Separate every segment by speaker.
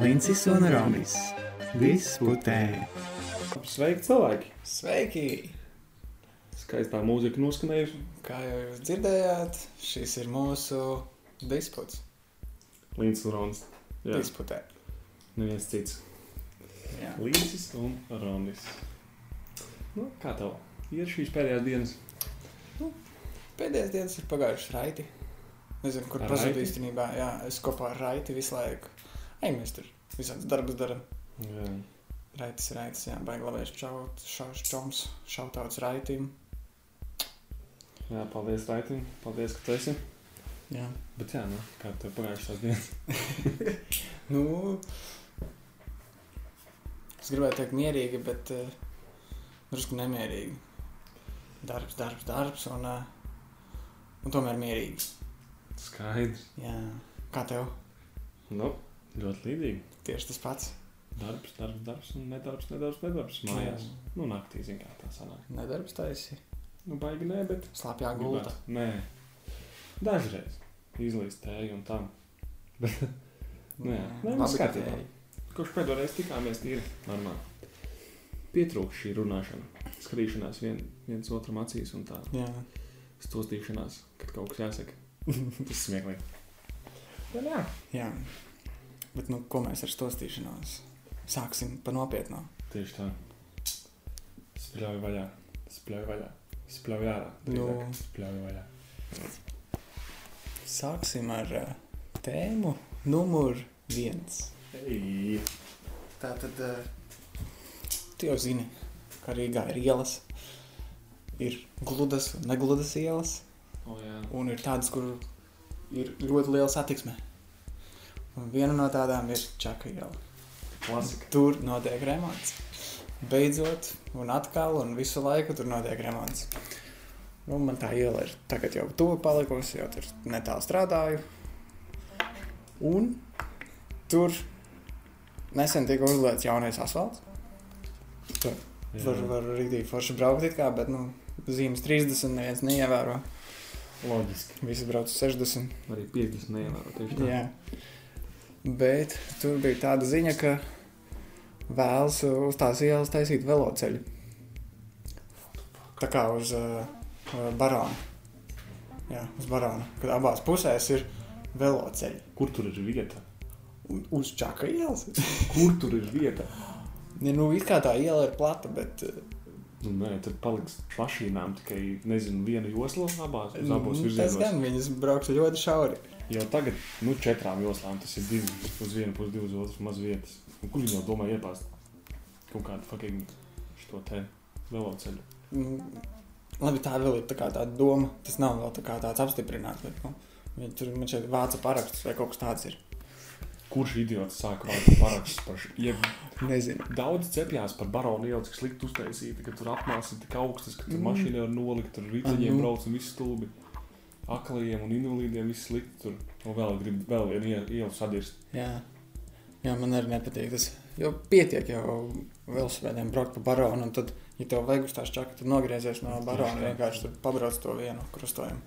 Speaker 1: Lincis un Ronis diskutē.
Speaker 2: Sveiki, cilvēki!
Speaker 3: Sveiki!
Speaker 2: Skaistā mūzika noskanējusi.
Speaker 3: Kā jau jūs dzirdējāt, šis ir mūsu disputs.
Speaker 2: Līdz un Ronis. Jā,
Speaker 3: Disputē.
Speaker 2: neviens cits.
Speaker 3: Jā.
Speaker 2: Līdz un Ronis. Nu, kā tev? Ir šīs pēdējās dienas.
Speaker 3: Pēdējās dienas ir pagājušas raiti. Nezinu, kur
Speaker 2: Ar
Speaker 3: pazudu
Speaker 2: raiti?
Speaker 3: īstenībā. Jā, es kopā ar raiti visu laiku. Ai, mēs tur visādas darbus darām.
Speaker 2: Jā.
Speaker 3: Raitis, raitis, jā, baigi labais čaut, šauš čoms, šautauts raitim.
Speaker 2: jā, paldies, Raitim. Paldies, ka tu esi.
Speaker 3: Jā.
Speaker 2: Bet jā, nu, kā tev pagājušās dienas?
Speaker 3: Nu, es gribēju teikt mierīgi, bet eh, drusku nemierīgi. Darbs, darbs, darbs un, eh, un tomēr mierīgi.
Speaker 2: Skaidrs.
Speaker 3: Jā. Kā tev?
Speaker 2: Nu, ļoti līdzīgi.
Speaker 3: Tieši tas pats.
Speaker 2: Darbs, darbs, darbs un nedarbs, nedarbs, nedarbs mājās. Nu, naktī, zin kā tā sanāk.
Speaker 3: Nedarbs taisi.
Speaker 2: Nu, baigi nē, bet
Speaker 3: Slapjā gulta.
Speaker 2: Gribētu. Nē, dažreiz izlīst tēju un tam. Nu jā. Nē,
Speaker 3: labi,
Speaker 2: viss
Speaker 3: ka
Speaker 2: kārtībā.
Speaker 3: tevi.
Speaker 2: Kopš pēdējā reizē tikāmies tīri normāli. Pietrūkst šī runāšana, skatīšanās vien, viens otram acīs un tā
Speaker 3: Jā.
Speaker 2: stostīšanās, kad kaut kas jāsaka. Tas ir smieklīgi. Nu Jā, jā.
Speaker 3: Jā. Bet, nu, ko mēs ar stostīšanos? Sāksim pa nopietno.
Speaker 2: Tieši tā. Spļauj vaļā, spļauj vaļā, spļauj ārā.
Speaker 3: Nu.
Speaker 2: drīzāk. Spļauj vaļā.
Speaker 3: Sāksim ar eh, tēmu numur viens.
Speaker 2: Ei,
Speaker 3: Tā tad jūs jau zini, ka Rīgā ir ielas. Ir gludas un negludas ielas,
Speaker 2: O, jā.
Speaker 3: un ir tādas, kur ir ļoti liela satiksme. Un viena no tādām ir Čaka iela.
Speaker 2: Klasika.
Speaker 3: Tur notiek remonts. Beidzot, un atkal, un visu laiku tur notiek remonts. Nu, man tā iela ir tagad jau tuvu palikusi, jau tur netālu strādāju. Un tur nesen tika uzliekas jaunais asfalts.
Speaker 2: Jā.
Speaker 3: Var, var arī forši braukt, it kā, bet nu, zīmes 30 neviens neievēro.
Speaker 2: Loģiski.
Speaker 3: Visi brauc 60.
Speaker 2: Arī 50 neievēro tieši tā.
Speaker 3: Jā. Bet tur bija tāda ziņa, ka vēlas uh, uz tās ielas taisīt veloceļu. Tā kā uz uh, uh, barona. Jā, uz barona. Kad abās pusēs ir veloceļi.
Speaker 2: Kur tur ir vieta?
Speaker 3: Un Uz čaka ielas.
Speaker 2: Kur tur ir vieta?
Speaker 3: Ja, nu, it kā tā iela ir plata, bet uh,
Speaker 2: Nu, nē, tad paliks mašīnām tikai nezinu, viena josla abās, uz abos
Speaker 3: nu, tas
Speaker 2: virzienos.
Speaker 3: gan viņas brauks ļoti šauri.
Speaker 2: Jau tagad, nu, četrām joslām tas ir divi. Uz vienu pusi, divas otras maz vietas. Un kur viņi jau domā iepāst kaut kādu fucking šo te veloceļu?
Speaker 3: Mm, Labi, tā vēl ir tā kā tāda doma. Tas nav vēl tā kā tāds apstiprināts. Bet, nu, viņi tur man šeit vāca parakstus vai kaut kas tāds ir.
Speaker 2: Kurš idiots sāk vākt parakstus par šo? Ja
Speaker 3: Nezinu.
Speaker 2: daudz cepjās par baronu ielu, cik slikti uztaisīta, ka tur apmāsa tik augstas, ka tur
Speaker 3: Mm.
Speaker 2: mašīna nevar nolikt, tur riteņiem
Speaker 3: Mhm.
Speaker 2: brauc un viss stulbi. Aklajiem un invalīdiem viss slikti tur. Un vēl grib vēl vienu ie- ielu sadirst.
Speaker 3: Jā. Jā, man arī nepatīk tas. Jo pietiek jau velosipēdiem braukt pa baronu, un tad, ja tev vajag uz tās čakas, tad nogriezies no
Speaker 2: Tieši
Speaker 3: barona
Speaker 2: tā.
Speaker 3: vienkārši tur pabrauc to vienu krustojumu.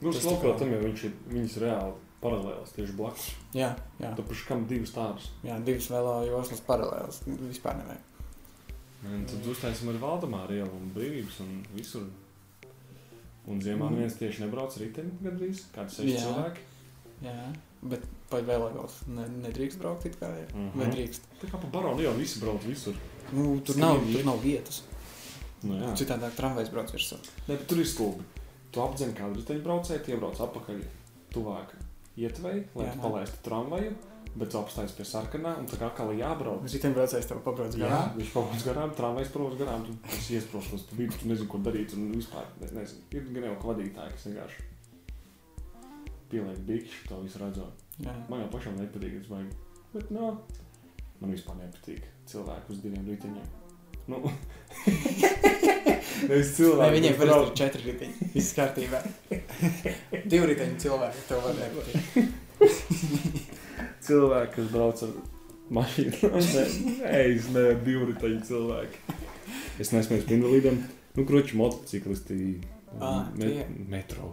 Speaker 2: Nu,
Speaker 3: Tas
Speaker 2: tas lokā
Speaker 3: tā kā-
Speaker 2: tam jau viņš ir, viņas ir reāli paralēlas tieši blakus.
Speaker 3: Jā, jā.
Speaker 2: Tāpēc kam divas tādas?
Speaker 3: jā divas velo joslas paralēlas. nu, Vispār nevajag.
Speaker 2: Un Tad uztaisām ar Valdemāru ielu un brīvības un visur. Un ziemā
Speaker 3: Mm.
Speaker 2: mm. neviens tieši nebrauc riteni gandrīz, kādi seši
Speaker 3: Jā.
Speaker 2: cilvēki.
Speaker 3: Jā. Bet pa velo joslas ne, nedrīkst braukt it kā ir.
Speaker 2: Mhm.
Speaker 3: Vai drīkst?
Speaker 2: Tā kā pa baronu ielu visi brauc visur.
Speaker 3: Nu, tur nav, tur nav vietas.
Speaker 2: Nu, jā.
Speaker 3: Citādi tramvajs brauc virsū.
Speaker 2: Ne, bet tur ir stulbi. Tu apdzen kādu riteņbraucēju, tie brauc apakaļ tuvāk ietvei, lai
Speaker 3: Jā.
Speaker 2: tu palaistu tramvaju, bet tu apstājies pie sarkanā un tā kā kā jābrauc.
Speaker 3: Riteņbraucējs tev pabrauc
Speaker 2: Jā,
Speaker 3: garām.
Speaker 2: viņš pavadīs garām, tramvajs pavadīs garām, tu esi iesprostots, tu biji, tu nezini, ko darīt, un vispār, ne, nezinu, ir gan jau ka vadītāji, kas vienkārši pieliek bikšu, to visu redzot.
Speaker 3: Jā.
Speaker 2: Man jau pašam nepatīk, es baigi, bet no, man vispār nepatīk cilvēku uz diviem riteņiem. Nu, nevis
Speaker 3: Nē,
Speaker 2: cilvēku,
Speaker 3: viņiem
Speaker 2: kas
Speaker 3: parasti
Speaker 2: brauc-
Speaker 3: ir četri riteņi. Viss kārtībā. Divi riteņi cilvēki tev var nepatīk.
Speaker 2: cilvēki, kas brauc ar mašīnu. Nē, nē, es neesmu divriteņu cilvēki. Es nesmēju par invalīdiem. Nu, kruķi motociklisti,
Speaker 3: Ā,
Speaker 2: met,
Speaker 3: tie.
Speaker 2: metro,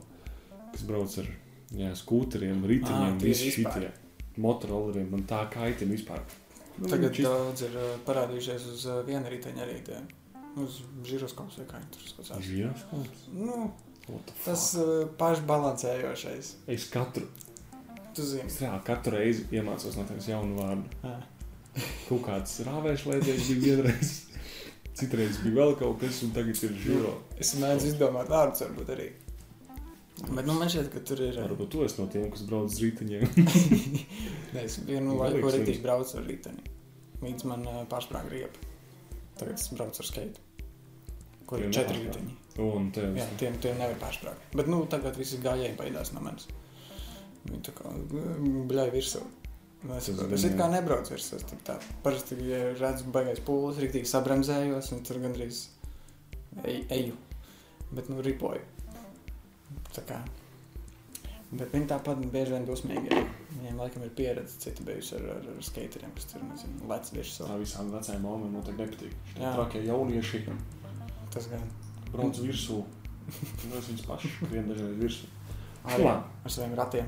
Speaker 2: kas brauc ar jā, skūteriem, riteņiem,
Speaker 3: Ā, tie
Speaker 2: visi
Speaker 3: vispār.
Speaker 2: šitie motoroleriem. Man tā kaitina vispār. Nu,
Speaker 3: Tagad
Speaker 2: čist-
Speaker 3: daudz ir ā, parādījušies uz ā, viena riteņa arī tie. Uz žiroskops vai kā viņi tur skatās.
Speaker 2: Žiroskops?
Speaker 3: Nu,
Speaker 2: What the fuck?
Speaker 3: tas ā, pašbalansējošais.
Speaker 2: Es katru,
Speaker 3: Tu zini.
Speaker 2: es reāli katru reizi iemācos no tevis jaunu vārdu.
Speaker 3: Ā.
Speaker 2: Kaut kāds rāvēšlēdējs bija vienreiz, citreiz bija vēl kaut kas, un tagad ir žiro.
Speaker 3: Es mēģinu izdomāt vārdus varbūt arī. Bet nu, man šķiet, ka tur ir. ā,
Speaker 2: Varbūt tu esi no tiem, kas brauc uz riteņiem.
Speaker 3: Nē, Es vienu
Speaker 2: Nu,
Speaker 3: laiku
Speaker 2: galīgs
Speaker 3: rītīgi
Speaker 2: viņš.
Speaker 3: braucu ar riteni. Līdz man ā, pārsprāga riepa. Tagad es braucu ar skeitu. Kur
Speaker 2: Tiem
Speaker 3: ir četri
Speaker 2: nepārspārg.
Speaker 3: riteņi?
Speaker 2: Un tev
Speaker 3: Jā, tiem, tiem nevar pārsprāgt. Bet nu, tagad visi gājēji baidās no manis. Viņi tā kā mm, bļauj virsū. Nu, Es,
Speaker 2: Tas
Speaker 3: es it
Speaker 2: gan
Speaker 3: kā
Speaker 2: jā.
Speaker 3: nebraucu virsū. es tur tā. Parasti, ja redzu baigais pūles, rītīgi sabremzējos un tur gandrīz ej, eju. Bet nu ripoju. Tā kā. Bet viņi tāpat bieži vien dusmīgi. ir. Viņiem laikam ir pieredze cita bijusi ar, ar, ar skateriem, kas tur, nezinu, lec virsū.
Speaker 2: Tā visām vecajām mamām noteikti nepatīk. Šie
Speaker 3: Jā.
Speaker 2: trakie jaunieši
Speaker 3: Tas gan.
Speaker 2: brauc virsū. Nu, es viņus pašu skrienu dažreiz virsū.
Speaker 3: arī
Speaker 2: Labi.
Speaker 3: ar saviem ratiem.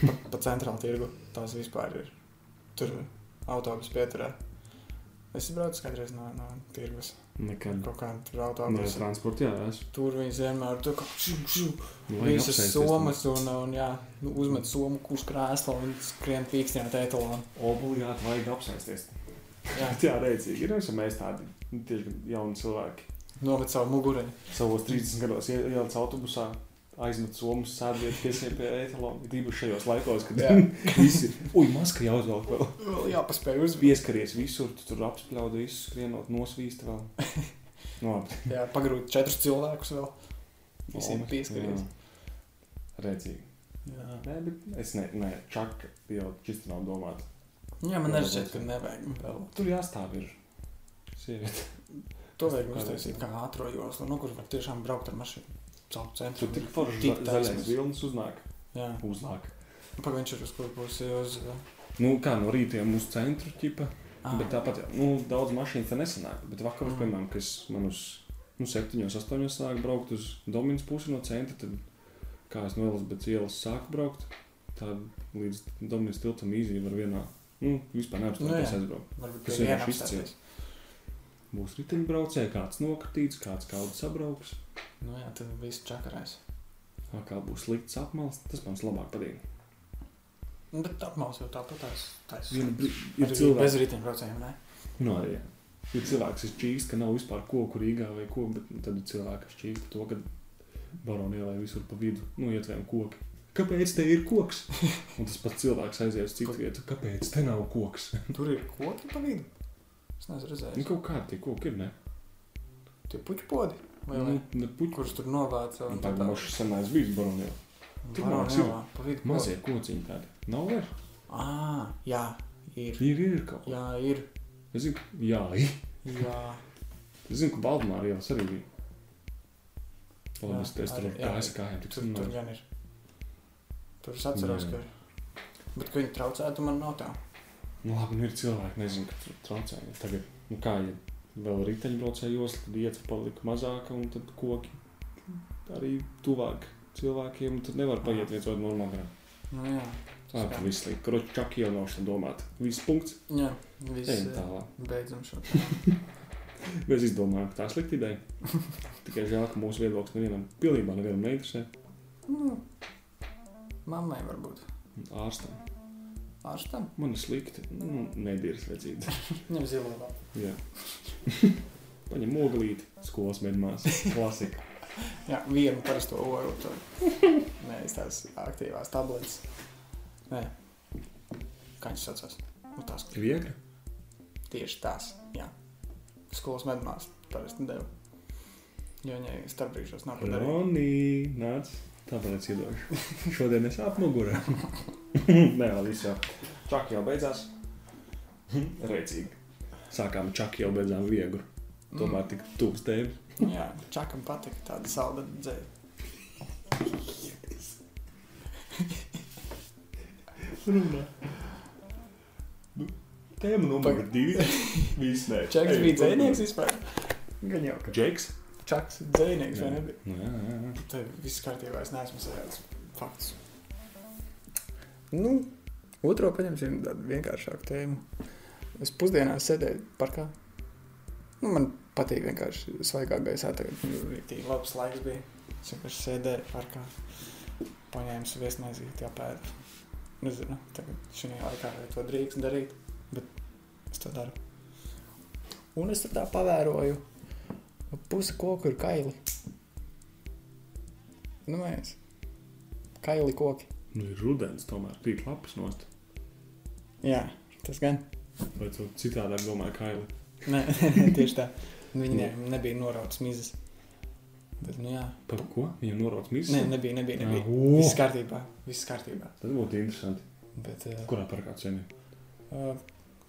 Speaker 3: Pa, pa centrālu tirgu tās vispār ir. Tur autobusu pieturē. Es braucu kādreiz no, no tirgus.
Speaker 2: Nekad.
Speaker 3: Kaut kā tur
Speaker 2: Nē,
Speaker 3: autobusu.
Speaker 2: transporta, jā, es.
Speaker 3: Tur viņi vienmēr tur kā šū, šū,
Speaker 2: Nu, vajag
Speaker 3: visas
Speaker 2: apsēsties,
Speaker 3: somas un, un jā, nu, uzmet somu kurš krēsla un skrien pīkstināt etalonu.
Speaker 2: nu. Obligāti vajag apsēsties.
Speaker 3: Jā,
Speaker 2: Jā, rēcīgi. Ir esam mēs tādi nu, tieši jauni cilvēki.
Speaker 3: nomet savu mugureņu.
Speaker 2: Savos 30 gados ie- ieliec autobusā. Aizmet somas, sēdiet piesien pie etalona. Tīpaši šajos laikos, kad
Speaker 3: Jā.
Speaker 2: visi ir. Ui, maska jāuzvelk vēl.
Speaker 3: Vēl jāpaspēj uzbīt.
Speaker 2: Pieskaries visur, tu tur apspļaudi visu, skrienot, nosvīst vēl. Nu, labi.
Speaker 3: Jā, pagrūt četrus cilvēkus vēl. Visiem
Speaker 2: Omas,
Speaker 3: pieskaries.
Speaker 2: jā. Redzīgi.
Speaker 3: Jā,
Speaker 2: Nē, bet es ne, nē, čaka jau čisti nav domāta.
Speaker 3: jā man arī šķiet, ka nevajag vēl.
Speaker 2: Tur jāstāv ir. Sieviete.
Speaker 3: To vajag uztaisīt kā ātrā joslu, nu, kur var tiešām braukt ar mašīnu. Caur centru.
Speaker 2: Tur tik forši
Speaker 3: Tik
Speaker 2: za- zaļais
Speaker 3: taisnas.
Speaker 2: vilnis uznāk.
Speaker 3: Jā,
Speaker 2: Uznāk.
Speaker 3: pagaidām Nu, viņš ir uz kur pusi uz. eh,
Speaker 2: Nu, kā no rīta jau uz centru ķipa.
Speaker 3: Ah,
Speaker 2: Bet tāpat, jau, nu, daudz mašīnu te nesanāk. Bet vakar,
Speaker 3: Mm.
Speaker 2: mm. piemēram, kas man uz nu, 7, 8 sāk braukt uz Dominas pusi no centra, tad kā es no ielas, bet ielas sāku braukt, tad līdz Dominas tiltam īzī var vienā. Nu, vispār neapstāties
Speaker 3: Nu, jā.
Speaker 2: aizbraukt.
Speaker 3: varbūt
Speaker 2: kas
Speaker 3: pie viena
Speaker 2: vienkārši
Speaker 3: apstāties.
Speaker 2: Būs riteņbraucēji, kāds nokritīts, kāds kādu sabrauks,
Speaker 3: Nu jā, tad viss čakarēs.
Speaker 2: kā būs slikts apmals. Tas man labāk patīk.
Speaker 3: Nu, Bet apmals jau tāpat tās. tās-
Speaker 2: Ir,
Speaker 3: Arī
Speaker 2: ir cilvēks,
Speaker 3: Bez riteņbraucējiem, ne?
Speaker 2: no, jā. Ir Nu, cilvēks, kas čīkst, ka nav vispār koku Rīgā vai ko, bet nu, tad ir cilvēks, kas čīkst to, ka baroni ielai visur pa vidu, nu, ietvējam koki. Kāpēc te ir koks? Un tas pats cilvēks aizies uz citu vietu. Kāpēc te nav koks?
Speaker 3: Tur ir koki pa vidu. Es nezinu,
Speaker 2: Nu,
Speaker 3: redzēju.
Speaker 2: kaut kādi tie koki ir, ne?
Speaker 3: Tie puķu podi. Vai
Speaker 2: Nu,
Speaker 3: ne?
Speaker 2: ne puķi.
Speaker 3: Kurus tur novāca un
Speaker 2: Tā kā mums šis senais bijis baroni ielai. Tur
Speaker 3: Varonu
Speaker 2: mums ir
Speaker 3: ielā, pa vidu.
Speaker 2: Mazie kociņi tādi. Nav vairs.
Speaker 3: Ā, jā, ir.
Speaker 2: Ir, ir, ir kaut kas.
Speaker 3: Jā, ir.
Speaker 2: Es zinu, ka- jā, ir.
Speaker 3: Jā.
Speaker 2: Es zinu, ka Baltimāra ielas arī bija. Labi,
Speaker 3: Jā,
Speaker 2: es es tur
Speaker 3: arī,
Speaker 2: ar
Speaker 3: jā.
Speaker 2: kājas kājām. tik
Speaker 3: Tur,
Speaker 2: runāju.
Speaker 3: tur gan ir. Tur es atceros,
Speaker 2: Nu. Jā.
Speaker 3: ka. Bet, ka viņi traucētu, man nav tā.
Speaker 2: Nu, labi, nu ir cilvēki, nezinu, ka tur traucē. Ja Tagad, nu kā, ja vēl riteņbraucējos, tad ietver palika mazāka un tad koki arī tuvāk cilvēkiem, un tad nevar paiet viens otru normāli. garām.
Speaker 3: Nu, jā,
Speaker 2: Tā
Speaker 3: Jā.
Speaker 2: ir viss līdz. Kroķi čaki jau nav šeit domāt. Viss punkts.
Speaker 3: jā viss.
Speaker 2: Ejam
Speaker 3: eh,
Speaker 2: tālāk.
Speaker 3: Beidzam šo.
Speaker 2: Mēs izdomājām, ka tā ir slikta ideja. Tikai žēl, ka mūsu viedoklis nevienam pilnībā nevienam neinteresē.
Speaker 3: Nu, mammai varbūt.
Speaker 2: Ārstam.
Speaker 3: Ārstam?
Speaker 2: Man ir slikti. Nu, nedīras vecīt.
Speaker 3: Ņem zilo vēl.
Speaker 2: Jā. Paņem oglīti, skolas mēģinās. Klasika.
Speaker 3: Jā, vienu parasto oru. Tur. Nē, es tās aktīvās tabletes. Nē. Kā viņas saucās? Nu, tās
Speaker 2: Viegli.
Speaker 3: tieši tās. Jā. Skolas medmās parasti deva. Jo viņai starp brīžos nav padarīta.
Speaker 2: Ronī, nāc, tāpēc iedošu. Šodien es apmugurē. Nē, vēl viss jau. Čaki jau beidzās. Reicīgi. Sākām čaki jau beidzām viegli. Tomēr tik tuvs tev.
Speaker 3: Mm, Jā, čakam patika tāda salda dzēja.
Speaker 2: Runā. Nu, Tēma numur divi. Viss nē.
Speaker 3: Čakas bija dzējnieks vispār. Gan jau, ka
Speaker 2: Džeks.
Speaker 3: Čaks ir dzinieks, vai
Speaker 2: Jā.
Speaker 3: ne? Bet
Speaker 2: Nu, jā, jā, jā.
Speaker 3: Tev viss kārtībā, es neesmu sajaucis faktus. Nu, otro paņemsim tādu vienkāršāku tēmu. Es pusdienās sēdēju parkā. Nu, man patīk vienkārši svaigā gaisā. Tagad Nu, bija labs laiks. Bija. Es vienkārši sēdēju parkā. Paņēmu viesmaizīti apēdu. Nezinu, tagad šajā laikā vai to drīkst darīt, bet es to daru. Un es tur tā pavēroju. Puse koku ir kaili. Nu, mēs. Kaili koki.
Speaker 2: Nu, ir rudens, tomēr tīk lapas nost.
Speaker 3: Jā, tas gan.
Speaker 2: Vai tu citādāk domāji, kaili?
Speaker 3: Nē, tieši tā. Nu, Viņiem nebija norauts mizas. Bet, nu, jā.
Speaker 2: Par ko? Viņam norauc mīsu?
Speaker 3: Nē, nebija, nebija. nebija.
Speaker 2: Viss
Speaker 3: Viss kārtībā. Viss kārtībā.
Speaker 2: Tas būtu interesanti.
Speaker 3: Bet, uh,
Speaker 2: Kurā parkā ceni?
Speaker 3: uh,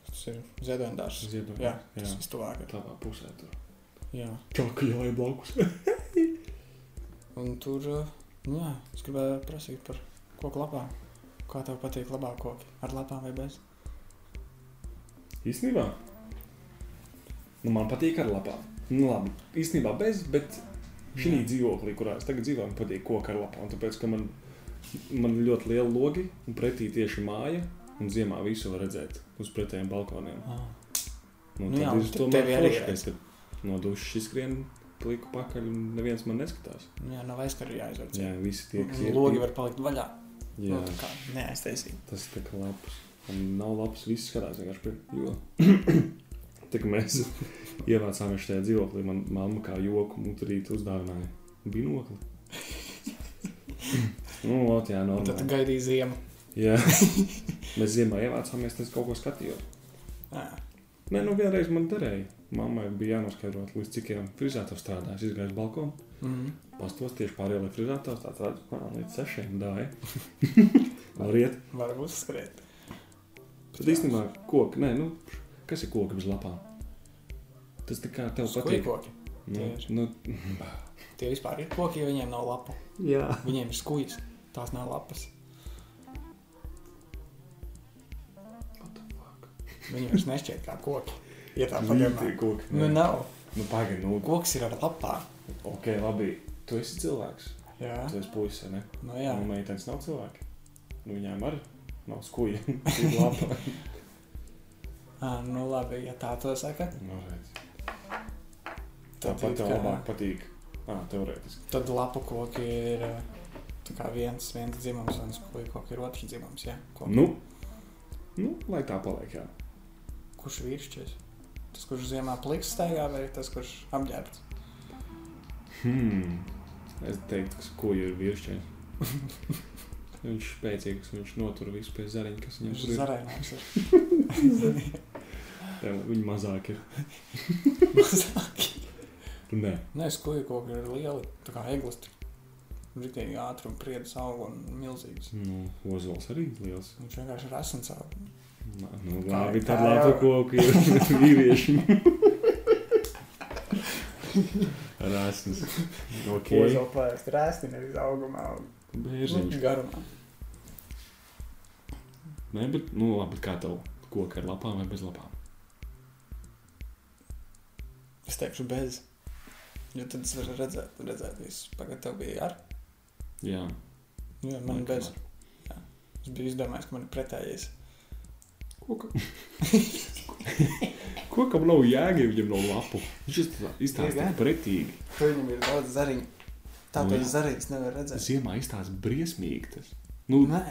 Speaker 3: tas ir ziedojums.
Speaker 2: Ziedot.
Speaker 3: Jā, tas
Speaker 2: jā.
Speaker 3: ir tuvāk.
Speaker 2: Tādā pusē tur.
Speaker 3: Jā.
Speaker 2: Čaka jālai blakus.
Speaker 3: Un tur, uh, nu, jā, es gribēju prasīt par koku lapām. Kā tev patīk labāk koki? Ar lapām vai bez?
Speaker 2: Īstenībā. Nu, man patīk ar lapām. Nu, labi. Īstenībā bez, bet šī
Speaker 3: Jā.
Speaker 2: dzīvoklī, kurā es tagad dzīvoju, man patīk koka ar lapām. Tāpēc, ka man, man ir ļoti liela logi un pretī tieši māja. Un ziemā visu var redzēt uz pretējiem balkoniem.
Speaker 3: Ah. Nu
Speaker 2: Nu, nu,
Speaker 3: jā,
Speaker 2: tad
Speaker 3: un
Speaker 2: ir
Speaker 3: te-
Speaker 2: tomēr
Speaker 3: tevi arī
Speaker 2: foršais, ka no dušas izskrien pliku pakaļ un neviens man neskatās.
Speaker 3: Nu, Jā, nav aizkari jāizvērts.
Speaker 2: Jā, visi tie, kas
Speaker 3: Logi var palikt vaļā.
Speaker 2: Jā,
Speaker 3: Nu, tā kā neaiztaisīt.
Speaker 2: tas ir tā kā labs. Un nav labs, viss skatās vienkārši pie jo. Tā kā mēs ievācāmies šajā dzīvoklī, man mamma kā joku mutrīt uzdāvināja binokli. nu, ot, jā,
Speaker 3: Un tad
Speaker 2: normāli.
Speaker 3: gaidīja ziemu.
Speaker 2: Jā. Mēs ziemā ievācāmies, tas kaut ko skatījos.
Speaker 3: Jā.
Speaker 2: Nē, nu vienreiz man derēja. Mammai bija jānoskaidro, līdz cikiem frizētājiem strādājis. Izgājis uz balkonu,
Speaker 3: Mm.
Speaker 2: pastos tieši pārējā līnijā frizētājs. Tā tad man līdz sešiem dāja. Var iet.
Speaker 3: Var uzskrēt.
Speaker 2: Tad īstenībā koks, nē, nu, kas ir koks bez lapām? Tas tā kā tev
Speaker 3: Skūri
Speaker 2: patīk.
Speaker 3: koki.
Speaker 2: Nu,
Speaker 3: tieši.
Speaker 2: nu,
Speaker 3: Tie vispār ir koki, jo viņiem nav lapu.
Speaker 2: jā.
Speaker 3: Viņiem ir skūjas, tās nav lapas. Viņi vairs nešķiet kā koki. Ja tā padomā.
Speaker 2: Līdzīgi koki.
Speaker 3: Nu
Speaker 2: nē.
Speaker 3: nav.
Speaker 2: Nu, pagaidi, nu,
Speaker 3: Koks ir ar lapām.
Speaker 2: ok, labi. Tu esi cilvēks.
Speaker 3: Jā.
Speaker 2: Tu esi puisis, vai ne?
Speaker 3: Nu jā.
Speaker 2: Nu, meitenes nav cilvēki. Nu, viņām arī nav skuja. Ir lapa.
Speaker 3: À, nu labi, ja tā to saka.
Speaker 2: Nu, redz.
Speaker 3: Tad
Speaker 2: Tāpat
Speaker 3: it
Speaker 2: tev
Speaker 3: kā-
Speaker 2: labāk patīk. Ah, teorētiski.
Speaker 3: Tad lapu koki ir eh, tā kā viens, viens dzimums, un skūri koki ir otrs dzimums. Jā. Koki.
Speaker 2: Nu, nu, lai tā paliek. Jā.
Speaker 3: Kurš vīrišķis? Tas, kurš ziemā pliks staigā, vai tas, kurš apģērbts?
Speaker 2: Hmm. Es teiktu, ka skūja ir vīrišķīgs. viņš ir spēcīgs, viņš notur visu pie zariņa, kas viņam
Speaker 3: Viņš
Speaker 2: tur
Speaker 3: ir
Speaker 2: ir.
Speaker 3: zarēnājis.
Speaker 2: Jā, Viņi mazāk ir. Nē,
Speaker 3: Nē, skūja koki ir lieli, tā kā eglisti. Ritīgi ātri un priedas aug un milzīgs.
Speaker 2: nu, ozols arī liels.
Speaker 3: Viņš vienkārši ir asins aug.
Speaker 2: Nā, Nu,
Speaker 3: Tā
Speaker 2: labi,
Speaker 3: ir
Speaker 2: tad
Speaker 3: tā
Speaker 2: labi,
Speaker 3: jau.
Speaker 2: koku ir vīrieši. Rāsnis. Ok.
Speaker 3: Ozola plēst rēsti, nevis augumā. aug.
Speaker 2: Bērziņš.
Speaker 3: Nu, Garumā.
Speaker 2: Nē, bet, nu, labi, kā tev koka ar lapām vai bez lapām?
Speaker 3: Es teikšu bez. Jo tad es varu redzēt, redzēt visu. Pagad tev bija ar. Nu,
Speaker 2: Jā.
Speaker 3: Jā, man ir bez. Es biju izdomājis, ka man ir pretējais.
Speaker 2: Koka. Kokam nav jēga, ja viņam nav lapu. Viņš izstā- izstāsta
Speaker 3: Jā, jā.
Speaker 2: yeah, pretīgi.
Speaker 3: Tur viņam ir daudz zariņu.
Speaker 2: Nu, jā.
Speaker 3: Tāpēc zariņas nevar redzēt.
Speaker 2: Ziemā izstāsta briesmīgi. Tas. Nu,
Speaker 3: Nē,